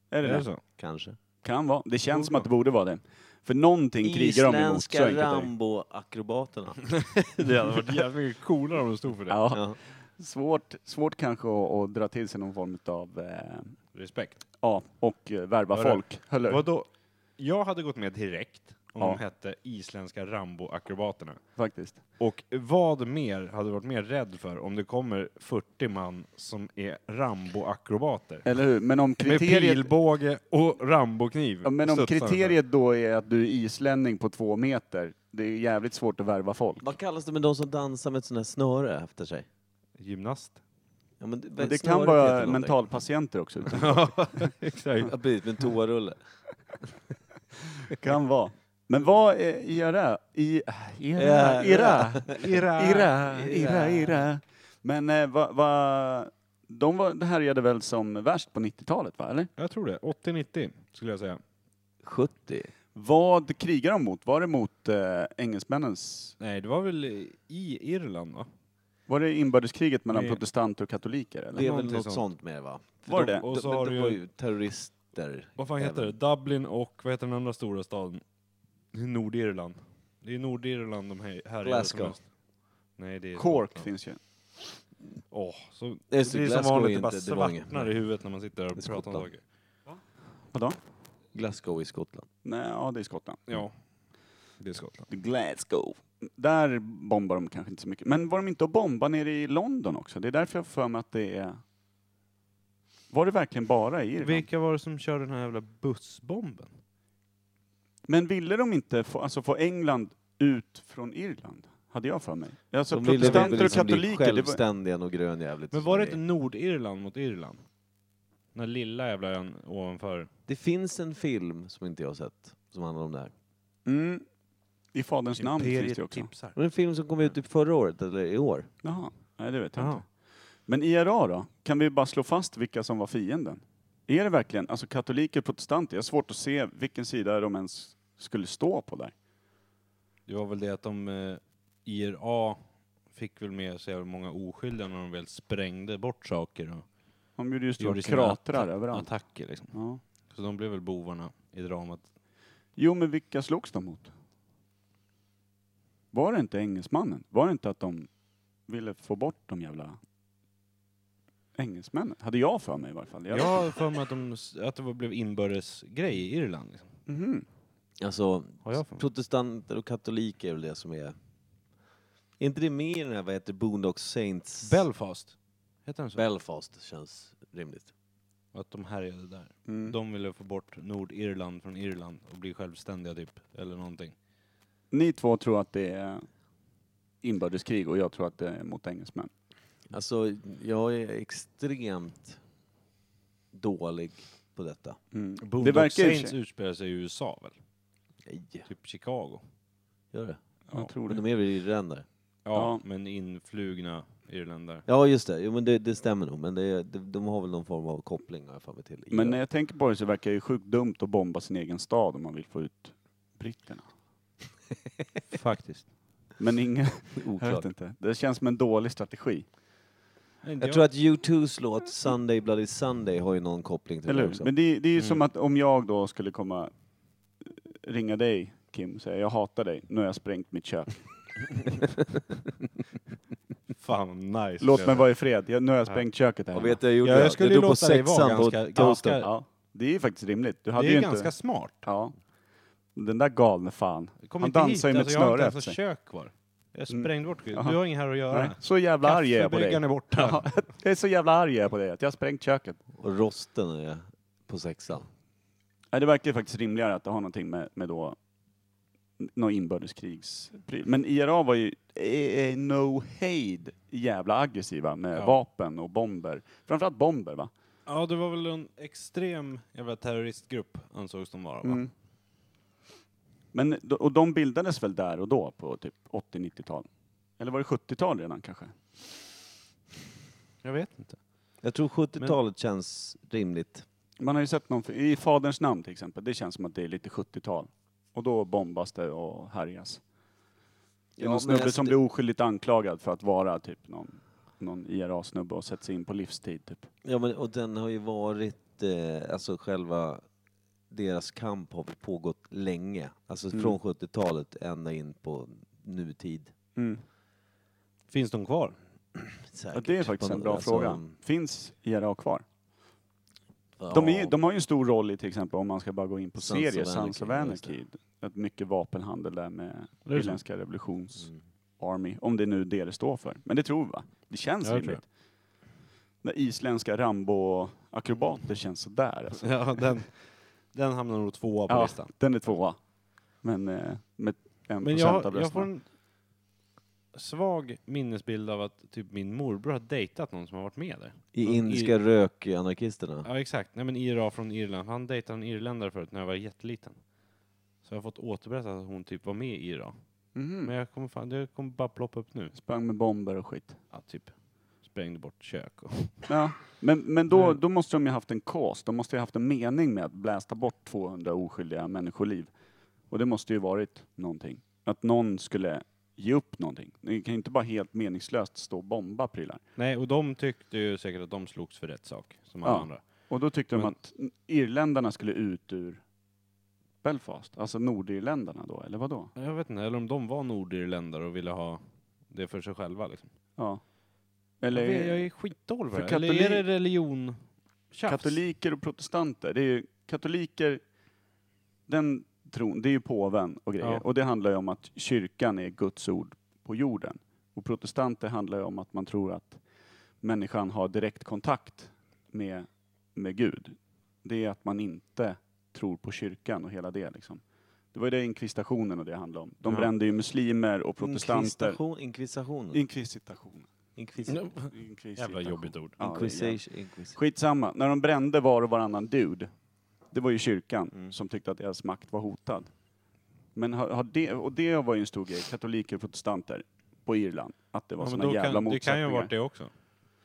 S2: Är det, det?
S3: så?
S1: Kanske.
S2: Kan vara. Det känns som
S3: Borde
S2: att det borde vara det. För någonting krigar de emot, så
S1: Isländska
S2: enkelt är det.
S1: Rambo-akrobaterna.
S3: Det hade varit jävligt mycket coolare om de stod för det.
S2: Ja,
S1: ja.
S2: svårt, svårt kanske att, att dra till sig någon form av, eh,
S3: Respekt.
S2: ja, och eh, värva
S3: Hörru,
S2: folk. Hörru.
S3: Vadå? Jag hade gått med direkt om
S2: Ja.
S3: de hette Isländska Rambo-akrobaterna.
S2: Faktiskt.
S3: Och vad mer hade jag varit mer rädd för om det kommer 40 man som är Rambo-akrobater?
S2: Eller hur? Men om
S3: Med
S2: Eh, kriteriet,
S3: pilbåge och Rambo-kniv.
S2: ja, men om
S3: studsar de här.
S2: kriteriet då är att du är islänning på två meter, det är jävligt svårt att värva folk.
S1: Vad kallas det med de som dansar med ett sånt här snöre efter sig?
S3: Gymnast.
S1: Ja, men, det-
S2: Men det kan
S1: snöret heter
S2: vara
S1: någonting.
S2: mentalpatienter också.
S3: Exakt.
S1: Ja, precis. Med en toarulle.
S2: Det kan vara. Men vad är IRA? I, IRA?
S1: Ja,
S2: IRA? Ira,
S3: Ira.
S2: ira,
S1: ira.
S2: ira. Men eh, va, va, de var, det här gällde väl som värst på 90-talet, va? Eller?
S3: Jag tror det. 80-90 skulle jag säga.
S1: 70.
S2: Vad krigar de mot? Var det mot eh, engelsmännens...
S3: Nej, det var väl i Irland va?
S2: Var det inbördeskriget mellan
S3: Nej.
S2: protestanter och katoliker? Eller?
S1: Det är väl
S3: Någonting
S1: något
S3: sånt.
S1: sånt, med va? För
S2: Var
S1: de,
S2: det?
S1: Och så de, har de, de var ju terrorister.
S3: Vad fan heter det? Dublin och vad heter den andra stora staden? Nordirland. Det är ju Nordirland de här här
S1: Glasgow.
S3: som mest. Nej, det är
S2: Cork finns ju.
S3: Åh, så
S1: Det är
S3: det är som
S1: Glasgow
S3: vanligt,
S1: är
S3: det bara
S1: inte Devånge.
S3: svartnar i huvudet när man sitter där och
S1: Det är
S3: pratar om
S1: Skottland.
S3: saker.
S2: Vadå?
S1: Glasgow i Skottland.
S2: Nej, ja, det är Skottland.
S3: Ja, det är Skottland.
S2: Glasgow. Där bombar de kanske inte så mycket. Men var de inte och bombade nere i London också? Det är därför jag har för mig att det är... Var det verkligen bara i Irland?
S3: Vilka var det som körde den här jävla bussbomben?
S2: Men ville de inte få, alltså få England ut från Irland? Hade jag för mig. Alltså
S1: De ville väl
S2: protestanter och
S1: liksom bli
S2: katoliker. Det var,
S1: självständiga och grönjävligt.
S3: Men var det inte Nordirland mot Irland? Den här lilla jävla ön ovanför.
S1: Det finns en film som inte jag har sett som handlar om det här.
S2: mm, I Faderns namn finns det ju också.
S3: tipsar.
S1: Det var en film som kom ut typ förra året, eller i år.
S2: Jaha, nej det vet jag
S3: Jaha.
S2: inte. Men IRA då? Kan vi bara slå fast vilka som var fienden? Är det verkligen, alltså katoliker och protestanter, jag har svårt att se vilken sida de ens skulle stå på där.
S3: Det var väl det att de eh, IRA fick väl med sig jävla många oskyldiga när de väl sprängde bort saker och
S2: De gjorde ju stora
S3: gjorde sina
S2: kratrar
S3: atta-
S2: överallt.
S3: attacker liksom.
S2: Ja.
S3: Så de blev väl bovarna i dramat.
S2: Jo, men vilka slogs de mot? Var det inte engelsmannen? Var det inte att de ville få bort de jävla engelsmännen? Hade jag för mig i varje fall.
S3: Jag har för mig att, de, s- att det var- blev inbördesgrej i Irland. Liksom.
S2: Mhm.
S1: Alltså,
S3: Har jag för mig.
S1: protestanter och katoliker är väl det som är... Är inte det med i den här, vad heter det, Boondock Saints?
S3: Belfast, heter den så?
S1: Belfast känns rimligt.
S3: att de härjade där.
S2: Mm.
S3: De ville få bort Nordirland från Irland och bli självständiga typ, eller någonting.
S2: Ni två tror att det är inbördeskrig och jag tror att det är mot engelsmän.
S1: Alltså, jag är extremt dålig på detta.
S2: Mm.
S3: Boondock det
S2: verkar i och för
S3: Saints
S2: sig-
S3: utspelar sig i USA väl?
S1: Nej,
S3: Typ Chicago.
S1: gör det.
S2: Jag tror
S1: Men
S2: det.
S1: de är väl irländare?
S3: Ja,
S2: Ja.
S3: men influgna irländare.
S1: Ja, just det. Jo, men det, det stämmer nog. Men det, är- de, de har väl någon form av koppling, har jag för mig, till
S2: Men eh,
S1: IRA.
S2: när jag tänker på det så verkar det ju sjukt dumt att bomba sin egen stad om man vill få ut britterna.
S3: Faktiskt.
S2: Men ingen, jag
S1: Oklart.
S2: vet inte. Det känns som en dålig strategi.
S1: Jag tror att U2s låt Sunday Bloody Sunday har ju någon koppling till
S2: Eller
S1: det
S2: hur?
S1: också.
S2: Men det, det är ju
S3: Mm.
S2: som att om jag då skulle komma eh, ringa dig Kim och säga jag hatar dig, nu har jag sprängt mitt kök.
S3: Fan vad nice.
S2: Låt mig vara i fred, jag, nu har jag sprängt köket här
S1: Vad
S2: hemma.
S1: vet jag gjorde?
S3: Ja, jag skulle
S1: jag
S3: ju
S1: drog på
S3: låta dig vara
S1: sexan på
S3: ganska-
S1: toasten.
S3: ganska-
S2: Ja, det är ju faktiskt rimligt. Du
S3: Det är
S2: hade
S3: ju
S2: ju
S3: ganska
S2: inte...
S3: smart.
S2: Ja. Den där galne fan.
S3: Kom
S2: Han
S3: inte
S2: dansar ju med ett
S3: alltså, jag har
S2: snöre
S3: inte ens
S2: efter
S3: något
S2: sig.
S3: kök kvar. Jag sprängde bort skylten.
S2: Jaha.
S3: Du har inget här att göra.
S2: Nej, så jävla arg är jag på dig.
S3: Kaffebryggaren är borta.
S2: Ja, jag är så jävla arg jag är på dig, att jag har sprängt köket.
S1: Och rosten är på sexan.
S2: Nej, det verkar ju faktiskt rimligare att det har någonting med, med då n- någon inbördeskrigs... Men IRA var ju eh, no hejd jävla aggressiva med
S3: Ja.
S2: vapen och bomber. Framförallt bomber va?
S3: Ja, det var väl en extrem jävla terroristgrupp ansågs de vara va?
S2: Mm. Men, d- och de bildades väl där och då på typ 80-90-tal? Eller var det 70-tal redan kanske?
S3: Jag vet inte.
S1: Jag tror 70-talet känns rimligt.
S2: Man har ju sett någon, i Faderns namn till exempel, det känns som att det är lite 70-tal. Och då bombas det och härjas. Det är någon snubbe
S1: alltså
S2: som blir oskyldigt anklagad för att vara typ någon, någon IRA-snubbe och sätts in på livstid typ.
S1: Ja, men och den har ju varit, eh, alltså själva deras kamp har pågått länge. Alltså
S2: Mm.
S1: från 70-talet ända in på nutid.
S3: Finns de kvar?
S2: Ja,
S1: Säkert.
S2: det är faktiskt
S1: På
S2: en
S1: nå-
S2: bra
S1: alltså,
S2: fråga. Finns IRA kvar?
S1: ja,
S2: De, är, ju- de har ju en stor roll i till exempel om man ska bara gå in på
S1: Sons of
S2: serier, Sons of
S1: Anarchy, just det.
S2: Anarchy. Att mycket vapenhandel där med
S3: är så.
S2: irländska revolutions...
S1: Mm.
S2: Army, om det är nu det det står för. Men det tror vi va? Det känns
S3: Ja, det tror
S2: rimligt. När isländska Rambo-akrobater känns sådär. Alltså.
S3: Ja, den, den hamnar nog tvåa på
S2: Ja,
S3: listan.
S2: den är tvåa. Men eh, med en
S3: Men
S2: procent av
S3: jag, jag
S2: rösterna.
S3: får en svag minnesbild av att typ min morbror har dejtat någon som har varit med där.
S1: I
S2: Mm.
S3: Någon
S1: indiska
S3: Ir-
S1: rökanarkisterna.
S3: Ja, exakt. Nej, men IRA från Irland. Han dejtade en irländare förut när jag var jätteliten. Så jag har fått återberättat att hon typ var med i IRA.
S2: Mhm.
S3: Men jag kommer, fan, det kommer bara ploppa upp nu.
S2: Sprang med bomber och skit.
S3: Ja, typ sprängde bort kök och...
S2: Ja. Men, men då,
S3: Mm.
S2: då måste de ju haft en cause. De måste ju haft en mening med att blästa bort 200 oskyldiga människoliv. Och det måste ju varit någonting. Att någon skulle ge upp någonting. Det kan ju inte bara helt meningslöst stå och bomba prylar.
S3: Nej, och de tyckte ju säkert att de slogs för rätt sak, som alla
S2: Ja.
S3: andra.
S2: Och då tyckte
S3: Men-
S2: de att irländarna skulle ut ur Belfast? Alltså Nordirländarna då, eller vad då?
S3: Jag vet inte, eller om de var nordirländare och ville ha det för sig själva. Liksom.
S2: Ja.
S3: Jag,
S2: Eller
S3: vet, jag är skitdålig på
S2: för
S3: det här. Eller är
S2: katolik-
S3: det religion?
S2: katoliker och protestanter. Det är ju katoliker, den tron, det är ju påven och grejer.
S3: Ja.
S2: Och det handlar ju om att kyrkan är Guds ord på jorden. Och protestanter handlar ju om att man tror att människan har direkt kontakt med, med Gud. Det är att man inte tror på kyrkan och hela det liksom. Det var ju det inkvistationen och det handlade om. De
S3: Ja.
S2: brände ju muslimer och protestanter.
S1: Inkvistation, inkvisitionen.
S2: Inkvisitation.
S1: Inkvisition.
S2: Inkvisitation.
S3: Jävla jobbigt ord.
S2: Ja, det är jävligt.
S1: Inquisition. Inquisition.
S2: Skitsamma, när de brände var och varannan dude, det var ju kyrkan
S1: Mm.
S2: som tyckte att deras makt var hotad. Men har, har det, och det var ju en stor grej, katoliker och protestanter på Irland, att det var
S3: Ja, men
S2: såna
S3: då
S2: jävla
S3: kan, det kan ju
S2: motsättningar.
S3: ha varit det också.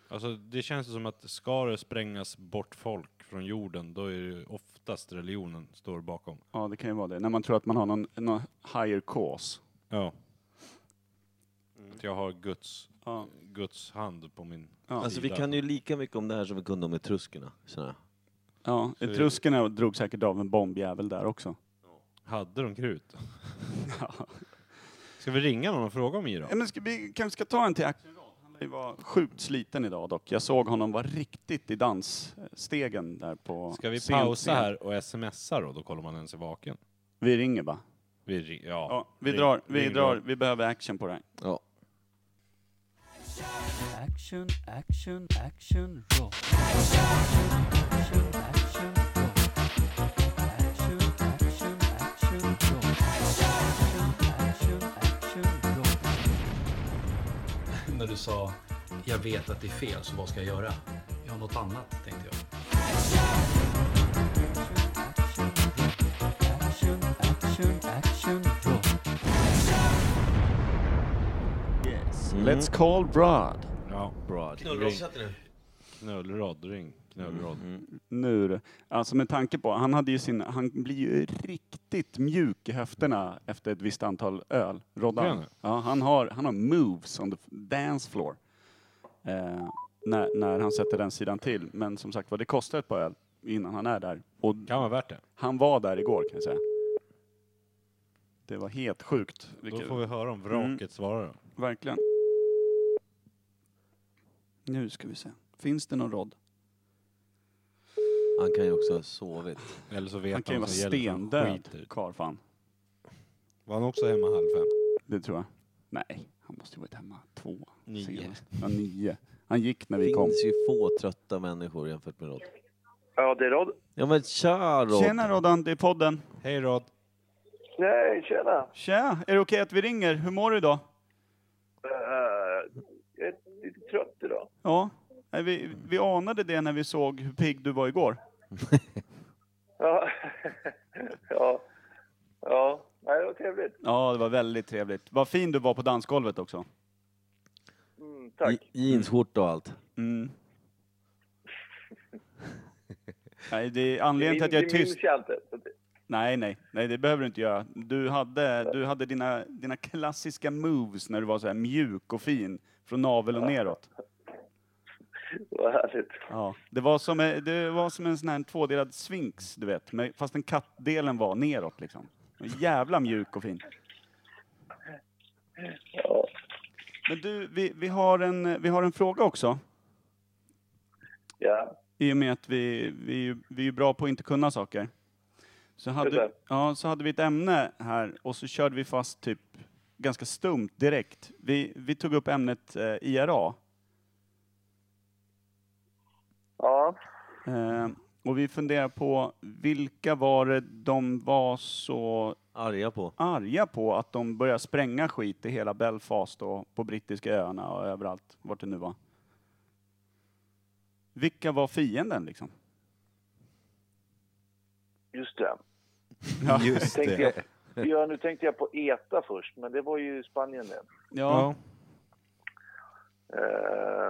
S3: Alltså, det känns ju som att ska det sprängas bort folk från jorden, då är det ju oftast religionen står bakom.
S2: Ja, det kan ju vara det. När man tror att man har någon, någon higher cause.
S3: Ja. Att jag har Guds,
S2: Ja.
S3: Guds hand på min
S2: Ja.
S1: Alltså vi kan ju lika mycket om det här som vi kunde om etruskerna. känner jag.
S2: Ja,
S3: Så är det.
S2: etruskerna drog säkert av en bombjävel där också.
S3: Hade de krut?
S2: Ja.
S3: Ska vi ringa någon och fråga om Iran?
S2: Ja, men ska vi kanske ska ta en till Action Rod? Han lär ju vara sjukt sliten idag dock. Jag såg honom vara riktigt i dansstegen där på
S3: Ska vi
S2: sent-
S3: pausa
S2: sent.
S3: här och smsa då? Då kollar man ens är vaken.
S2: Vi ringer va?
S3: Vi, ri- ja.
S2: Ja, vi
S3: Ring-
S2: drar, vi
S3: ring
S2: drar,
S3: då.
S2: vi behöver action på det här.
S1: Ja.
S6: Action, action, action, roll. Action, action, roll. Action, action, action, roll. Action, action, action, roll.
S8: när du sa jag vet att det är fel, så vad ska jag göra? Jag har något annat, tänkte jag.
S6: Action, action, action, roll.
S2: Let's call Brad.
S3: Ja.
S1: Bra.
S3: Knullrad, ring. Knullrad.
S2: Mm, Nu du. Alltså med tanke på, han hade ju sin, han blir ju riktigt mjuk i höfterna efter ett visst antal öl.
S3: Blir han
S2: Roddan.
S3: det?
S2: Ja, han har, han har moves on the f- dance floor. Eh, när, när han sätter den sidan till. Men som sagt var, det kostar ett par öl innan han är där. Och
S3: Kan vara värt det.
S2: han var där igår kan jag säga. Det var helt sjukt.
S3: Då
S2: Vilket-
S3: får vi höra om vraket
S2: Mm.
S3: svarar då.
S2: Verkligen. Nu ska vi se. Finns det någon rodd?
S1: Han kan ju också ha sovit.
S3: Eller så vet
S2: Han kan ju
S3: han
S2: vara
S3: som gäller, för han skiter i
S2: stendöd
S3: det.
S2: karl fan.
S3: Var han också hemma halv fem?
S2: Det tror jag. Nej, han måste ju varit hemma två.
S3: Nio.
S2: senast. Ja, nio. Han gick när
S1: Det
S2: vi kom.
S1: finns ju få trötta människor jämfört med Rod.
S9: Ja, det är Rod.
S1: Ja men tja Rod!
S2: Tjena Roddan, det är podden.
S3: Hej Rod.
S9: Nej, tjena.
S2: Tja, är det okej att vi ringer? Hur mår du idag?
S9: Eh, jag är lite trött idag.
S2: Ja, Nej, vi, vi anade det när vi såg hur pigg du var igår.
S9: Ja. ja. Ja. Nej, det var trevligt.
S2: Ja, det var väldigt trevligt. Vad fin du var på dansgolvet också.
S9: Mm, tack.
S1: Je- Jeansskjorta och allt.
S2: Mm. Nej, det är anledningen till att
S9: det
S2: jag är tyst.
S9: minns jag inte. Så det-
S2: Nej, nej, nej, det behöver du inte göra. Du hade, du hade dina, dina klassiska moves när du var så här mjuk och fin, från navel och neråt.
S9: Vad härligt.
S2: Ja. Det, var som, en- det var som en sån här tvådelad sphinx, du vet, men- fast den kattdelen var neråt liksom. Jävla mjuk och fin.
S9: Ja.
S2: Men du, vi, vi, har, en, vi har en fråga också.
S9: ja.
S2: I och med att vi, vi, är ju- vi är ju bra på att inte kunna saker. Så
S9: Just
S2: hade,
S9: det.
S2: ja, så hade vi ett ämne här och så körde vi fast typ ganska stumt direkt. Vi, vi tog upp ämnet eh, IRA.
S9: Ja.
S2: Eh, och vi funderar på vilka var det de var så
S1: Arga på.
S2: arga på att de började spränga skit i hela Belfast och på brittiska öarna och överallt, vart det nu var. Vilka var fienden liksom?
S9: Just det.
S1: Just
S9: Tänkte jag, ja, nu tänkte jag på ETA först, men det var ju Spanien det.
S2: Ja.
S9: Eh,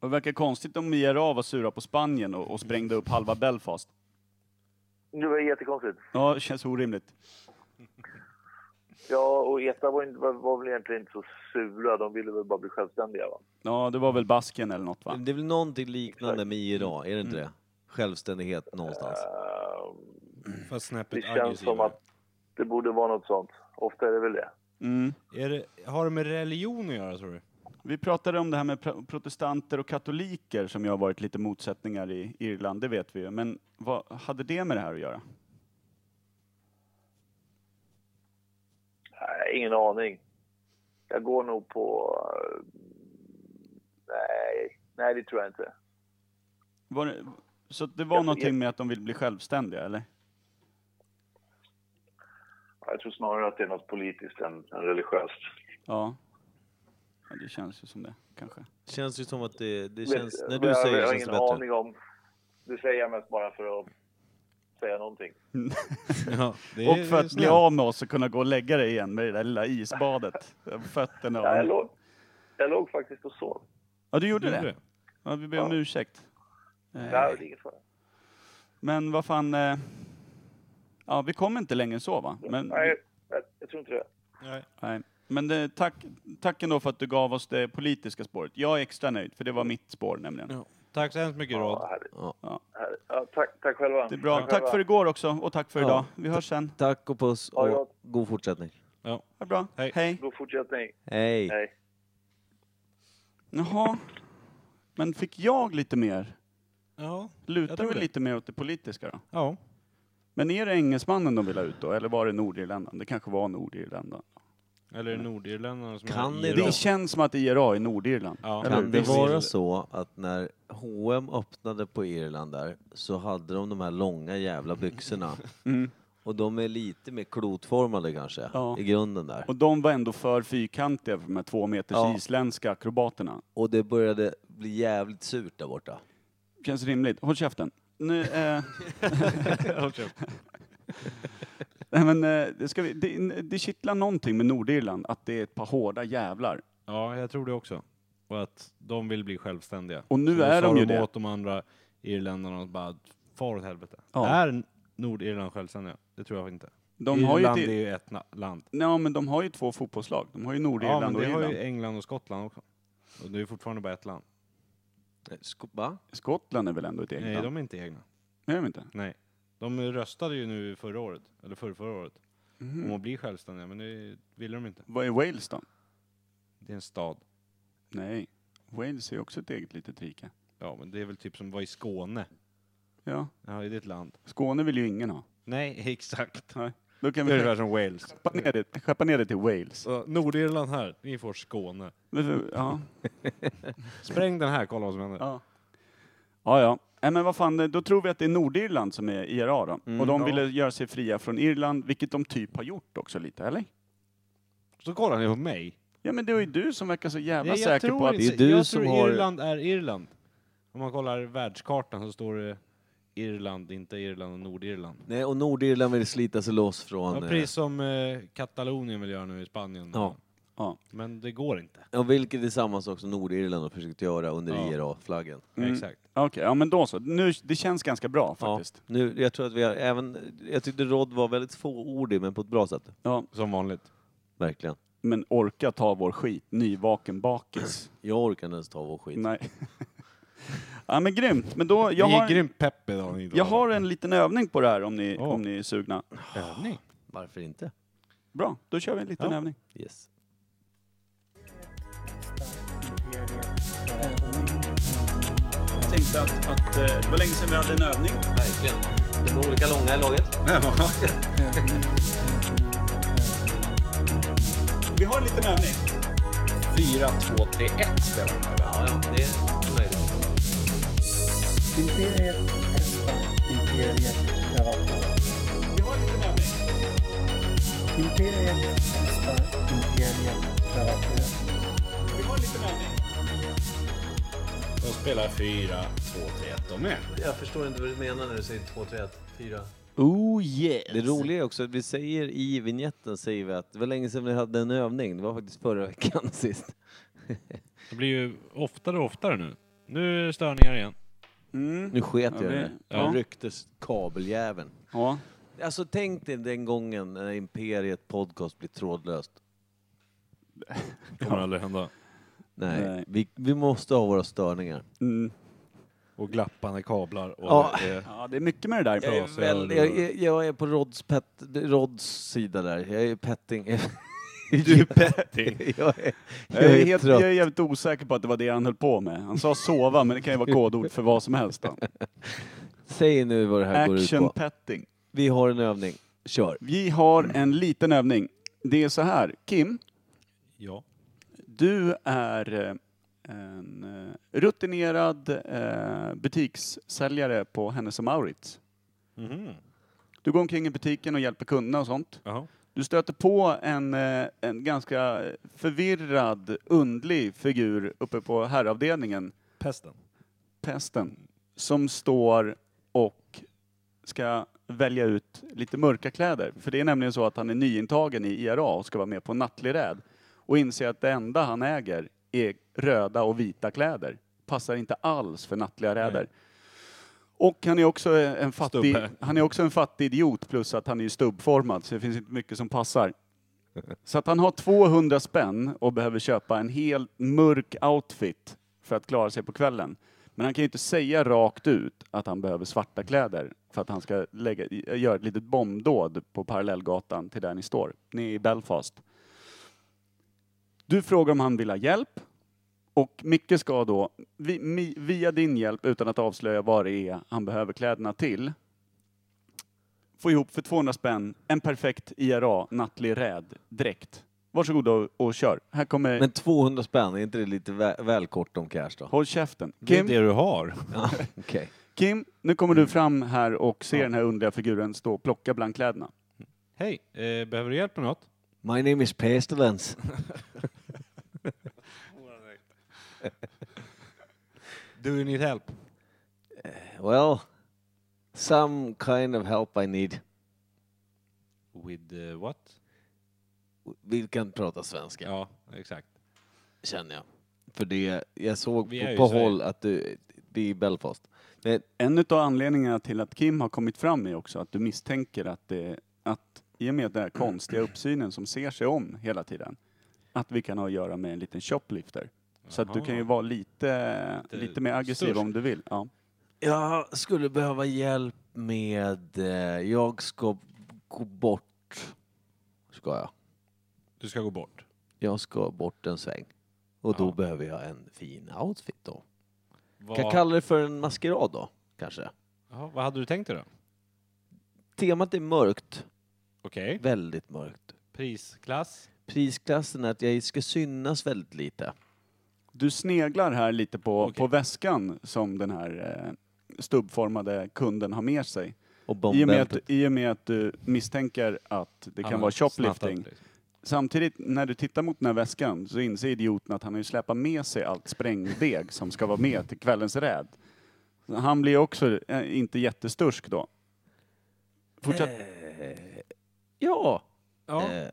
S2: Och det verkar konstigt om IRA var sura på Spanien och, och sprängde upp halva Belfast.
S9: det var jättekonstigt.
S2: Ja, det känns orimligt.
S9: Ja, och ETA var, inte, var, var väl egentligen inte så sura. De ville väl bara bli självständiga, va?
S2: Ja, det var väl Basken eller något va?
S1: Det är Mm. väl någonting liknande med IRA, är det inte det? Självständighet någonstans.
S9: Eh,
S3: Fast snäppet
S9: Det känns som
S3: aggressivare.
S9: att det borde vara något sånt. Ofta är det väl det.
S2: Mm.
S3: Är det, har det med religion att göra tror du?
S2: Vi pratade om det här med pro- protestanter och katoliker som ju har varit lite motsättningar i Irland, det vet vi ju. Men vad hade det med det här att göra?
S9: Nej, ingen aning. Jag går nog på... eh, Nej, nej det tror jag inte.
S2: Var det, så det var
S9: Jag-
S2: någonting med att de vill bli självständiga, eller?
S9: Jag tror snarare att det är något politiskt än, än religiöst.
S2: Ja. ja. Det känns ju som det, kanske.
S1: Känns ju som att det, det
S9: Vet-
S1: känns... När
S9: Eh, jag-
S1: du säger
S9: jag
S1: det
S9: har
S1: känns
S9: ingen
S1: det bättre.
S9: aning om... Det säger jag mest bara för att säga någonting.
S3: Ja, det
S2: Och för att bli
S3: snällt.
S2: av med oss och kunna gå och lägga dig igen med det där lilla isbadet. Fötterna
S9: Ja, jag,
S2: och...
S9: låg, jag låg faktiskt och sov.
S2: Ja, du gjorde
S3: Gjorde
S2: det?
S3: det?
S2: Ja, vi ber om ursäkt. Eh,
S9: Nej, det är inget fara.
S2: Men vad fan... eh, Ja, vi kom inte längre än så va? Men,
S9: Nej, jag, jag tror inte det.
S3: Nej.
S2: Nej. Men det, tack, tack ändå för att du gav oss det politiska spåret. Jag är extra nöjd, för det var mitt spår nämligen.
S3: Ja. Tack så hemskt mycket
S9: Ja,
S3: Rod.
S9: härligt.
S2: Ja.
S9: Härligt. Ja, tack, tack själva.
S2: Det är bra. Tack
S9: själva.
S2: för igår också, och tack för
S1: Ja.
S2: idag. Vi hörs sen.
S1: Tack och puss
S9: Ha det
S1: och
S9: gott.
S1: god fortsättning.
S2: Ha det bra.
S3: Hej.
S2: Hej.
S9: God fortsättning.
S1: Hej!
S9: Hej.
S2: Jaha. Men fick jag lite mer?
S3: Ja. Jag
S2: Lutar
S3: tror
S2: vi
S3: det.
S2: lite mer åt det politiska då?
S3: ja.
S2: Men är det engelsmannen de vill ha ut då, eller var det Nordirländan? Det kanske var Nordirländan.
S3: Eller Nordirländarna som
S1: Kan
S3: är
S1: ni-
S3: IRA.
S2: Det känns som att IRA är Nordirland.
S3: Ja.
S2: Eller
S1: Kan det
S2: hur?
S3: Visst.
S1: vara så att när H&M öppnade på Irland där så hade de de här långa jävla byxorna
S2: Mm.
S1: och de är lite mer klotformade kanske
S2: Ja.
S1: i grunden där.
S2: Och de var ändå för fyrkantiga för de här två meters
S1: Ja.
S2: isländska akrobaterna.
S1: Och det började bli jävligt surt där borta.
S2: Känns rimligt. Håll käften. Nu, eh,
S3: Håll käften.
S2: nej men, eh, det, ska vi, det, det kittlar någonting med Nordirland, att det är ett par hårda jävlar.
S3: Ja, jag tror det också. Och att de vill bli självständiga.
S2: Och nu
S3: Så
S2: är
S3: sa
S2: de ju det.
S3: åt de andra irländarna och bara, far åt helvete.
S2: Ja.
S3: Är Nordirland självständiga? Det tror jag inte.
S2: De har, ju
S3: Irland är
S2: till,
S3: ju ett na- land.
S2: nej, men de har ju två fotbollslag. De har ju
S3: Ja,
S2: Nordirland
S3: men
S2: och
S3: det har
S2: Irland.
S3: ju England och Skottland också. Och det är ju fortfarande bara ett land.
S1: Eh, sko- Va?
S2: Skottland är väl ändå ett eget
S3: Nej,
S2: land?
S3: de är inte egna.
S2: Nej, de är inte.
S3: Nej. De röstade ju nu förra året, eller förra, förra året, om
S2: Mhm.
S3: att bli självständiga, men det ville de inte.
S2: Vad är Wales då?
S3: Det är en stad.
S2: Nej, Wales är ju också ett eget litet rike.
S3: Ja, men det är väl typ som var i Skåne.
S2: Ja,
S3: Ja, är det ett land?
S2: Skåne vill ju ingen ha.
S3: Nej, exakt.
S2: Nej. Då kan
S3: Det är
S2: vi
S3: ungefär som Wales.
S2: skeppa ner det, skeppa ner det till Wales.
S3: Så, Nordirland här, ni får Skåne.
S2: Men- Ja,
S3: Spräng den här, kolla vad som händer.
S2: Ja. Ja, ja. Nej, men vad fan, eh, då tror vi att det är Nordirland som är IRA då. och de
S3: Mm, ja.
S2: ville göra sig fria från Irland, vilket de typ har gjort också lite, eller?
S3: Så kollar ni på mig.
S2: Ja, men det var ju du som verkar så jävla
S3: Nej,
S2: säker på att...
S1: inte.
S3: jag
S1: Det är du
S3: tror
S1: som har-
S3: Irland är Irland. Om man kollar världskartan så står det Irland, inte Irland och Nordirland.
S1: Nej, och Nordirland vill slita sig loss från...
S3: Ja,
S1: eh,
S3: precis som eh, Katalonien vill göra nu i Spanien.
S1: Ja.
S2: Ja.
S3: Men det går inte.
S1: Ja, vilket är samma sak som Nordirland har försökt göra under
S3: Ja.
S1: IRA-flaggen.
S2: Mm.
S3: Exakt.
S2: Okej, ja men då så. Nu, det känns ganska bra
S1: Ja,
S2: faktiskt.
S1: nu, jag tror att vi har även... Jag tyckte Rod var väldigt fåordig, men på ett bra sätt.
S2: Ja.
S3: Som vanligt.
S1: Verkligen.
S2: Men orka ta vår skit, nyvaken bakis.
S1: Jag orkar inte ens ta vår skit.
S2: Nej. ja men grymt. Men då, jag
S3: Jag Ni är
S2: har,
S3: grymt pepp idag. ni
S2: jag har en liten övning på det här om ni,
S3: Ja.
S2: om ni är sugna.
S3: övning.
S1: Varför inte?
S2: Bra, då kör vi en liten
S3: Ja.
S2: övning.
S1: Yes.
S2: Jag tänkte att, att eh, det var länge sedan vi hade en övning.
S1: Verkligen. De är olika långa i laget.
S2: Vi har en liten övning.
S8: 4, 2, 3, 1 spelar de här.
S1: Ja, ja, det är möjligt.
S6: Imperiet hästar, Imperiet kravattar.
S2: Vi har en liten övning.
S6: Imperiet hästar, Imperiet kravattar.
S2: Vi har en liten övning.
S3: De spelar 4, 2, 3, 1 de med.
S1: Jag förstår inte vad du menar när du säger 2, 3, 1, 4.
S2: Oh yes.
S1: Det roliga är också att vi säger i vignetten säger vi att det var länge sedan vi hade en övning. Det var faktiskt förra veckan sist.
S3: Det blir ju oftare och oftare nu. Nu är det störningar igen.
S2: Mm.
S1: Nu sket
S2: Ja,
S1: jag i
S2: det-
S1: det.
S2: ja.
S1: Jag rycktes kabeljäveln.
S2: Ja.
S1: Alltså tänk dig den gången när Imperiet Podcast blir trådlöst.
S3: Det kommer aldrig hända.
S1: Nej,
S2: Nej.
S1: Vi, vi måste ha våra störningar.
S2: Mm.
S3: och glappande kablar. Och,
S1: Ja.
S3: eh,
S2: Ja, det är mycket med det där.
S1: Jag är,
S3: Trasiga
S1: väl,
S3: öron.
S1: jag, är- jag är på Rods, pet, Rods sida där. Jag är petting.
S2: Du är petting.
S1: jag är, jag
S2: Jag är,
S1: är
S2: helt,
S1: trött.
S2: jag är jävligt osäker på att det var det han höll på med. Han sa sova, men det kan ju vara kodord för vad som helst. Då.
S1: Säg nu vad det här går ut
S2: Action
S1: på.
S2: petting.
S1: Vi har en övning. Kör.
S2: Vi har en liten övning. Det är så här, Kim,
S3: ja.
S2: du är eh, en eh, rutinerad eh, butikssäljare på Hennes och Mauritz.
S3: Mhm.
S2: Du går omkring i butiken och hjälper kunderna och sånt.
S3: Jaha.
S2: Du stöter på en, eh, en ganska förvirrad, undlig figur uppe på herravdelningen,
S3: Pesten.
S2: pesten, som står och ska välja ut lite mörka kläder. För det är nämligen så att han är nyintagen i IRA och ska vara med på en nattlig räd och inser att det enda han äger är röda och vita kläder. Passar inte alls för nattliga räder. Och han är också en fattig,
S3: Stubbe.
S2: han är också en fattig idiot plus att han är ju stubbformad så det finns inte mycket som passar. Så att han har 200 spänn och behöver köpa en helt mörk outfit för att klara sig på kvällen. Men han kan ju inte säga rakt ut att han behöver svarta kläder för att han ska lägga, göra ett litet bombdåd på parallellgatan till där ni står. Ni är i Belfast. Du frågar om han vill ha hjälp och Micke ska då vi, mi, via din hjälp, utan att avslöja vad det är han behöver kläderna till, få ihop för 200 spänn en perfekt IRA nattlig räd direkt. Varsågod och, och kör. Här kommer...
S1: Men 200 spänn, är inte det lite väl, väl kort om cash då?
S2: Håll käften.
S3: Det är
S2: Kim?
S3: det Mm. du har.
S1: Ja, okej.
S2: Kim, nu kommer du fram här och ser den här underliga figuren stå och plocka bland kläderna.
S3: Hej, eh, behöver du hjälp med något?
S1: My name is Pestilence.
S3: Do you need help?
S1: Well, some kind of help I need.
S3: With eh, what?
S1: Vi kan prata svenska,
S3: Ja, exakt.
S1: känner jag. För det, jag såg
S3: Vi är ju
S1: på, på
S3: i Sverige.
S1: håll att du, det är Belfast. Nej,
S2: En av anledningarna till att Kim har kommit fram är också att du misstänker att, det, att i och med den här konstiga uppsynen som ser sig om hela tiden, att vi kan ha att göra med en liten shoplifter. Så att du kan ju vara lite,
S3: Lite
S2: lite mer aggressiv
S3: störst.
S2: om du vill. Ja.
S1: Jag skulle behöva hjälp med... Eh, jag ska gå bort. Ska jag?
S3: Du ska gå bort.
S1: Jag ska bort en sväng. Och då
S3: Ja.
S1: behöver jag en fin outfit då. Kan jag
S3: Vad,
S1: kalla det för en maskerad då, kanske?
S3: Jaha, vad hade du tänkt dig då?
S1: Temat är mörkt.
S3: Okej.
S1: Väldigt mörkt.
S3: Prisklass?
S1: Prisklassen är att jag ska synas väldigt lite.
S2: Du sneglar här lite på,
S3: Okej.
S2: på väskan som den här eh, stubbformade kunden har med sig.
S1: Och
S2: I och med,
S1: bombbältet.
S2: att, I och med att du misstänker att det kan
S3: Han
S2: vara
S3: har snattat,
S2: shoplifting.
S3: liksom.
S2: Samtidigt, när du tittar mot den här väskan så inser idioten att han har ju släpat med sig allt sprängdeg som ska vara med till kvällens räd. Han blir också eh, inte jättestursk då. Fortsätt.
S1: Eh, ja.
S3: Ja.
S1: Eh,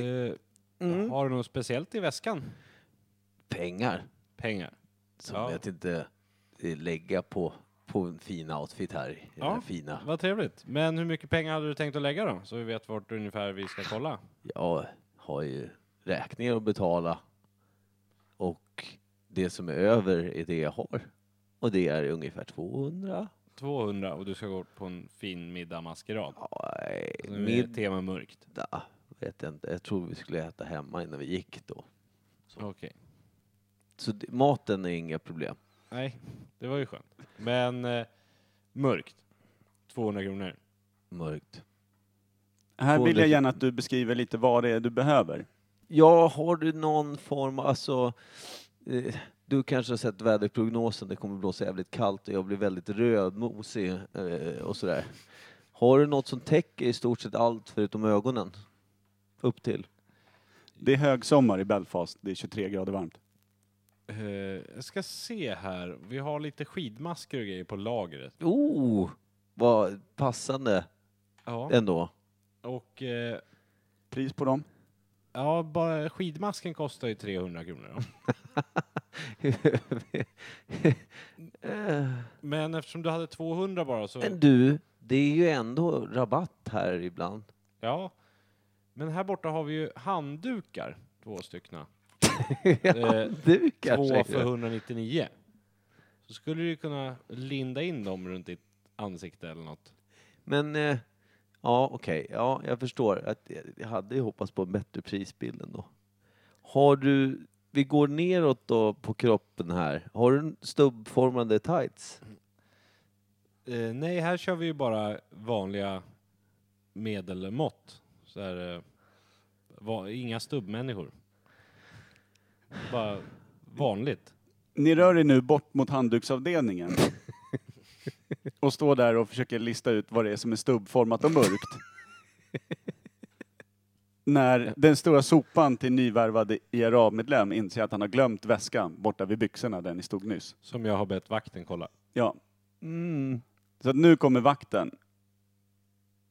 S3: eh,
S1: mm.
S3: Har du något speciellt i väskan?
S1: Pengar.
S3: Pengar.
S1: Som
S3: Ja.
S1: jag tänkte eh, lägga på, på en fin outfit här. i Den
S3: Ja.
S1: här fina.
S3: Vad trevligt. Men hur mycket pengar hade du tänkt att lägga då? Så vi vet vart ungefär vi ska kolla.
S1: Jag har ju räkningar att betala. Och det som är över är det jag har. Och det är ungefär 200.
S3: 200 och du ska gå på en fin middag maskerad.
S1: Nej,
S3: Nu är
S1: middag
S3: tema mörkt.
S1: vet jag inte. Jag tror vi skulle äta hemma innan vi gick då.
S3: Okej.
S1: Så det, maten är inga problem.
S3: Nej, det var ju skönt. Men eh, mörkt. 200 kronor.
S1: Mörkt.
S2: Här vill jag
S1: Fågeln.
S2: gärna att du beskriver lite vad det är du behöver.
S1: Ja, har du någon form, alltså eh, du kanske har sett väderprognosen, det kommer blåsa jävligt kallt och jag blir väldigt rödmosig eh, och sådär. Har du något som täcker i stort sett allt förutom ögonen? Upp till?
S2: Det är högsommar i Belfast, det är 23 grader varmt.
S3: Eh, jag ska se här. Vi har lite skidmasker och grejer på lagret.
S1: Oh, vad passande
S3: Ja.
S1: ändå.
S3: Och eh,
S2: Pris på dem?
S3: ja, bara skidmasken kostar ju 300 kronor. Då.
S1: Eh,
S3: Men eftersom du hade 200 bara så...
S1: Men du, det är ju ändå rabatt här ibland.
S3: Ja. Men här borta har vi ju handdukar. Två styckna. Eh,
S1: Du
S3: Två
S1: kanske?
S3: för 199. Så skulle du ju kunna linda in dem runt ditt ansikte eller något.
S1: Men eh, ja, okej. Ja, jag förstår. Att jag- jag hade ju hoppats på en bättre prisbild ändå. Har du... Vi går neråt då på kroppen här. Har du en stubbformade tights?
S3: Eh, nej, här kör vi ju bara vanliga medelmått. Så här, eh, va, inga stubbmänniskor. Bara vanligt.
S2: Ni rör er nu bort mot handduksavdelningen. och står där och försöker lista ut vad det är som är stubbformat och mörkt. När den stora sopan till nyvärvade IRA-medlem inser att han har glömt väskan borta vid byxorna där ni stod nyss.
S3: Som jag har bett vakten kolla.
S2: Ja. Mm. Så att nu kommer vakten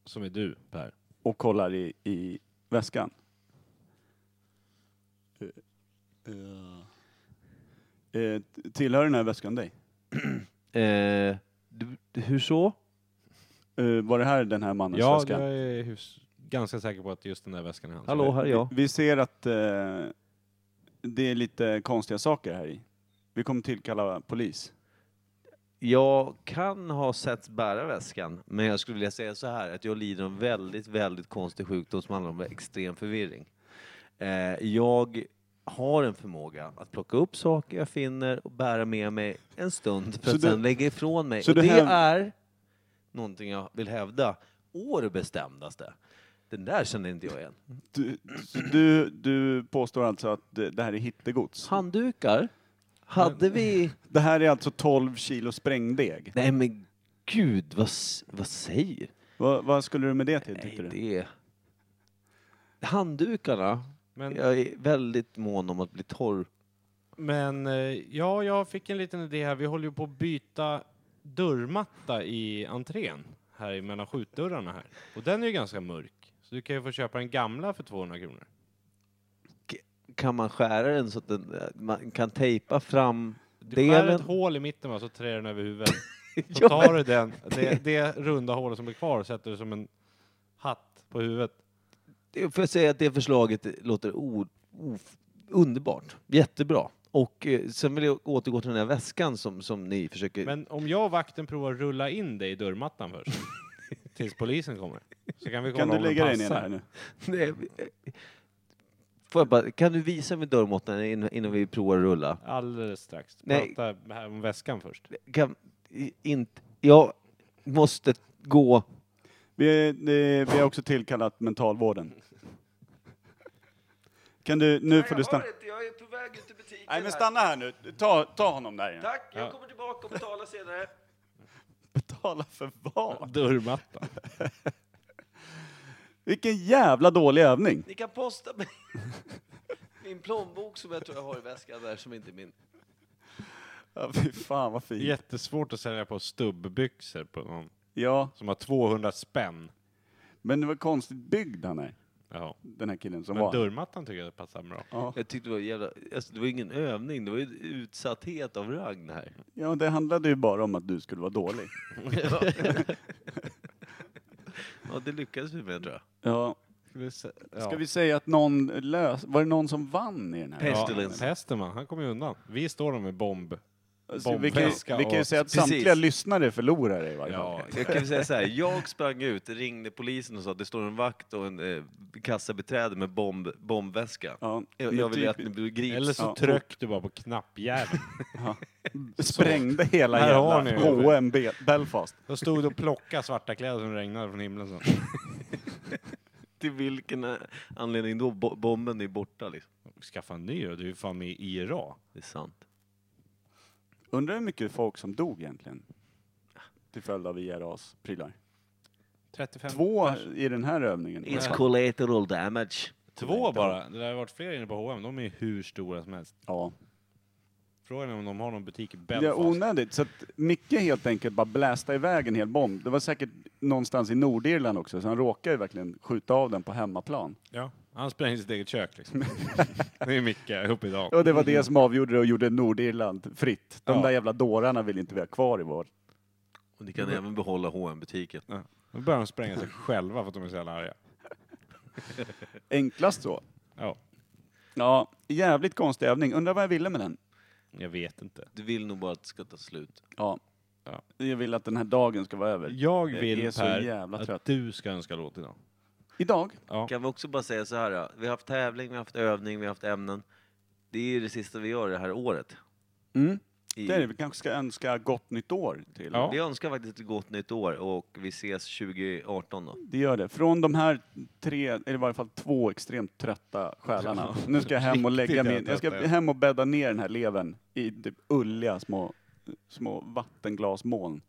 S3: Som är du, Per.
S2: och kollar i, i väskan. Eh, t- tillhör den här väskan dig?
S1: Eh, du, hur så?
S2: Eh, var det här den här mannens
S3: Ja,
S2: väska?
S3: jag är hus- ganska säker på att just den där väskan är hans.
S1: Hallå, här är jag.
S2: Vi ser att eh, det är lite konstiga saker här i. Vi kommer tillkalla polis.
S1: Jag kan ha sett bära väskan, men jag skulle vilja säga så här att jag lider av en väldigt, väldigt konstig sjukdom som handlar om extrem förvirring. Eh, jag har en förmåga att plocka upp saker jag finner och bära med mig en stund för
S2: Så
S1: att
S2: du-
S1: sedan lägga ifrån mig.
S2: så
S1: Och
S2: du
S1: det
S2: häv-
S1: är någonting jag vill hävda, å det bestämdaste. Den där känner inte jag igen.
S2: Du, så du, du påstår alltså att det det här är hittegods?
S1: Handdukar? Hade vi...
S2: Det här är alltså 12 kilo sprängdeg.
S1: Nej men gud, vad, s- vad säger
S2: Vad- vad skulle du med det till,
S1: Nej,
S2: tyckte du?
S1: det... Handdukarna.
S3: Men,
S1: Jag är väldigt mån om att bli torr.
S3: men eh, ja, jag fick en liten idé här. Vi håller ju på att byta dörrmatta i entrén här mellan skjutdörrarna här. Och den är ju ganska mörk. Så du kan ju få köpa den gamla för 200 kronor.
S1: Kan man skära den så att den, eh, man kan tejpa fram
S3: Du skär
S1: delen?
S3: ett hål i mitten va, så trär den över huvudet. Så
S1: Ja,
S3: tar du den, det, det runda hålet som är kvar och sätter du som en hatt på huvudet.
S1: Det- Får jag säga att det förslaget låter o, o, underbart. Jättebra. Och eh, sen vill jag återgå till den här väskan som, som ni försöker...
S3: Men om jag och vakten provar att rulla in dig i dörrmattan först, tills polisen kommer, så kan vi kolla
S2: Kan du
S3: om den
S2: lägga dig ner
S3: passar.
S2: här nu?
S1: Nej, eh, Får jag bara, kan du visa mig dörrmåttan innan, innan vi provar att rulla?
S3: Alldeles strax.
S1: Nej.
S3: Prata här om väskan först.
S1: Kan, i- inte, jag måste gå
S2: Vi, det, vi har också tillkallat mentalvården. Kan du, nu får du stanna.
S1: inte, jag är på väg ut i butiken
S2: Nej men stanna här nu. Ta, ta honom där igen.
S1: Tack,
S3: Ja.
S1: jag kommer tillbaka och betalar senare.
S2: Betala för vad?
S3: Dörrmattan.
S2: Vilken jävla dålig övning.
S1: Ni kan posta mig min plånbok som jag tror jag har i väskan där som inte är min.
S2: Ja, fy fan vad fint.
S3: Jättesvårt att sälja på stubbbyxor på någon
S2: Ja,
S3: som har 200 spänn.
S2: men det var konstigt byggd han är.
S3: Ja.
S2: Den här killen som
S3: Men
S2: var.
S3: dörrmattan tycker jag passar bra.
S2: Ja.
S1: Jag tyckte det var jävla, alltså det var ingen övning, det var ju utsatthet av rang det här.
S2: ja, det handlade ju bara om att du skulle vara dålig.
S1: Ja, det lyckades vi med tror jag.
S2: Ja.
S3: Ska vi se- ja.
S2: Ska vi säga att någon lös... Var det någon som vann i den här?
S1: Pest.
S3: Ja,
S1: Pestilence.
S3: Hesterman, han kommer ju undan. Vi står där med bomb.
S2: Alltså, vi, kan,
S3: Bombväska
S2: vi kan ju
S3: och-
S2: säga att
S1: Precis.
S2: samtliga lyssnare förlorar i varje fall.
S3: Ja,
S1: Jag kan ju säga så här, jag sprang ut, ringde polisen och sa att det står en vakt och en eh, kassabiträde med bomb, bombväska.
S2: Ja.
S1: Jag, jag vill ju att
S2: Typ-
S1: ni blir grips.
S3: Eller så
S2: Ja.
S3: tryck du bara på knappjäveln.
S2: Ja. Sprängde hela
S3: Här har
S2: jävla
S3: ni.
S2: H&M Be- Belfast.
S3: Då stod du och plockade svarta kläder som regnade från himlen sen.
S1: till vilken eh, anledning då? Bo- bomben är borta liksom.
S3: Skaffa en ny då, du är ju fan med i IRA.
S1: Det är sant.
S2: Undrar hur mycket folk som dog egentligen? Till följd av IRAs prylar.
S3: 35.
S2: Två i den här övningen.
S1: It's collateral damage.
S3: Två bara. Det har varit fler inne på H&M. de är ju hur stora som helst.
S2: Ja.
S3: Frågan är om de har någon butik i
S2: Det är
S3: Belfast.
S2: onödigt. Så att Micke helt enkelt bara blästa iväg en hel bomb. Det var säkert någonstans i Nordirland också, så han råkade ju verkligen skjuta av den på hemmaplan.
S3: ja. Han sprängde sitt eget kök liksom. det är Micke uppe idag.
S2: Och det var det som avgjorde det och gjorde Nordirland fritt. De
S3: Ja.
S2: där jävla dårarna vill inte vi ha kvar i vår.
S1: Och ni kan även behålla hm butiken
S3: Nu börjar de spränga sig själva för att de är så jävla arga.
S2: Enklast så.
S3: Ja.
S2: Ja, jävligt konstig övning. Undrar vad jag ville med den.
S3: Jag vet inte.
S1: Du vill nog bara att det ska ta slut.
S2: Ja.
S3: Ja.
S2: Jag vill att den här dagen ska vara över.
S3: Jag
S2: Jag
S3: vill
S2: är så
S3: Per,
S2: jävla
S3: att
S2: trött.
S3: du ska önska låt idag.
S2: Idag?
S3: Ja.
S1: Kan vi också bara säga så här, ja. vi har haft tävling, vi har haft övning, vi har haft ämnen. Det är det sista vi gör det här året.
S2: Mm.
S1: I,
S2: Det är det. Vi kanske ska önska gott nytt år till.
S3: Ja.
S1: Vi önskar faktiskt ett gott nytt år och vi ses 2018 då.
S2: Det gör det. Från de här tre, eller i varje fall två extremt trötta själarna. Nu ska jag hem och lägga
S3: Riktigt
S2: min, jag ska
S3: trötta, ja.
S2: hem och bädda ner den här levern i typ ulliga små, små vattenglasmoln.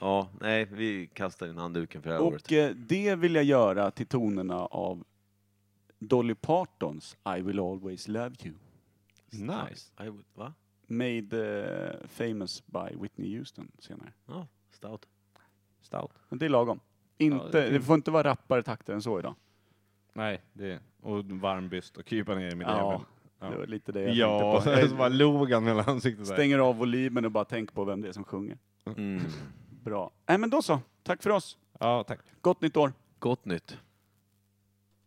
S1: Ja, nej, vi kastar in handduken för det här året.
S2: Och eh, det vill jag göra till tonerna av Dolly Partons I will always love you.
S3: Nice.
S1: I would, va?
S2: Made eh, famous by Whitney Houston senare.
S1: Ja, stout.
S3: Stout.
S2: Men det är lagom. Inte,
S3: det är
S2: det, får inte vara rappare takter än så idag.
S3: Nej, det och varm byst och krypa ner i min
S2: Ja,
S3: jävel. Ja.
S2: Det var lite det jag
S3: Ja,
S2: tänkte på.
S3: så bara log han hela ansiktet
S2: Jag
S3: där.
S2: stänger av volymen och bara tänker på vem det är som sjunger.
S1: Mm.
S2: Bra. Nej Äh, men då så. Tack för oss.
S3: Ja, tack.
S2: Gott nytt år.
S1: Gott nytt.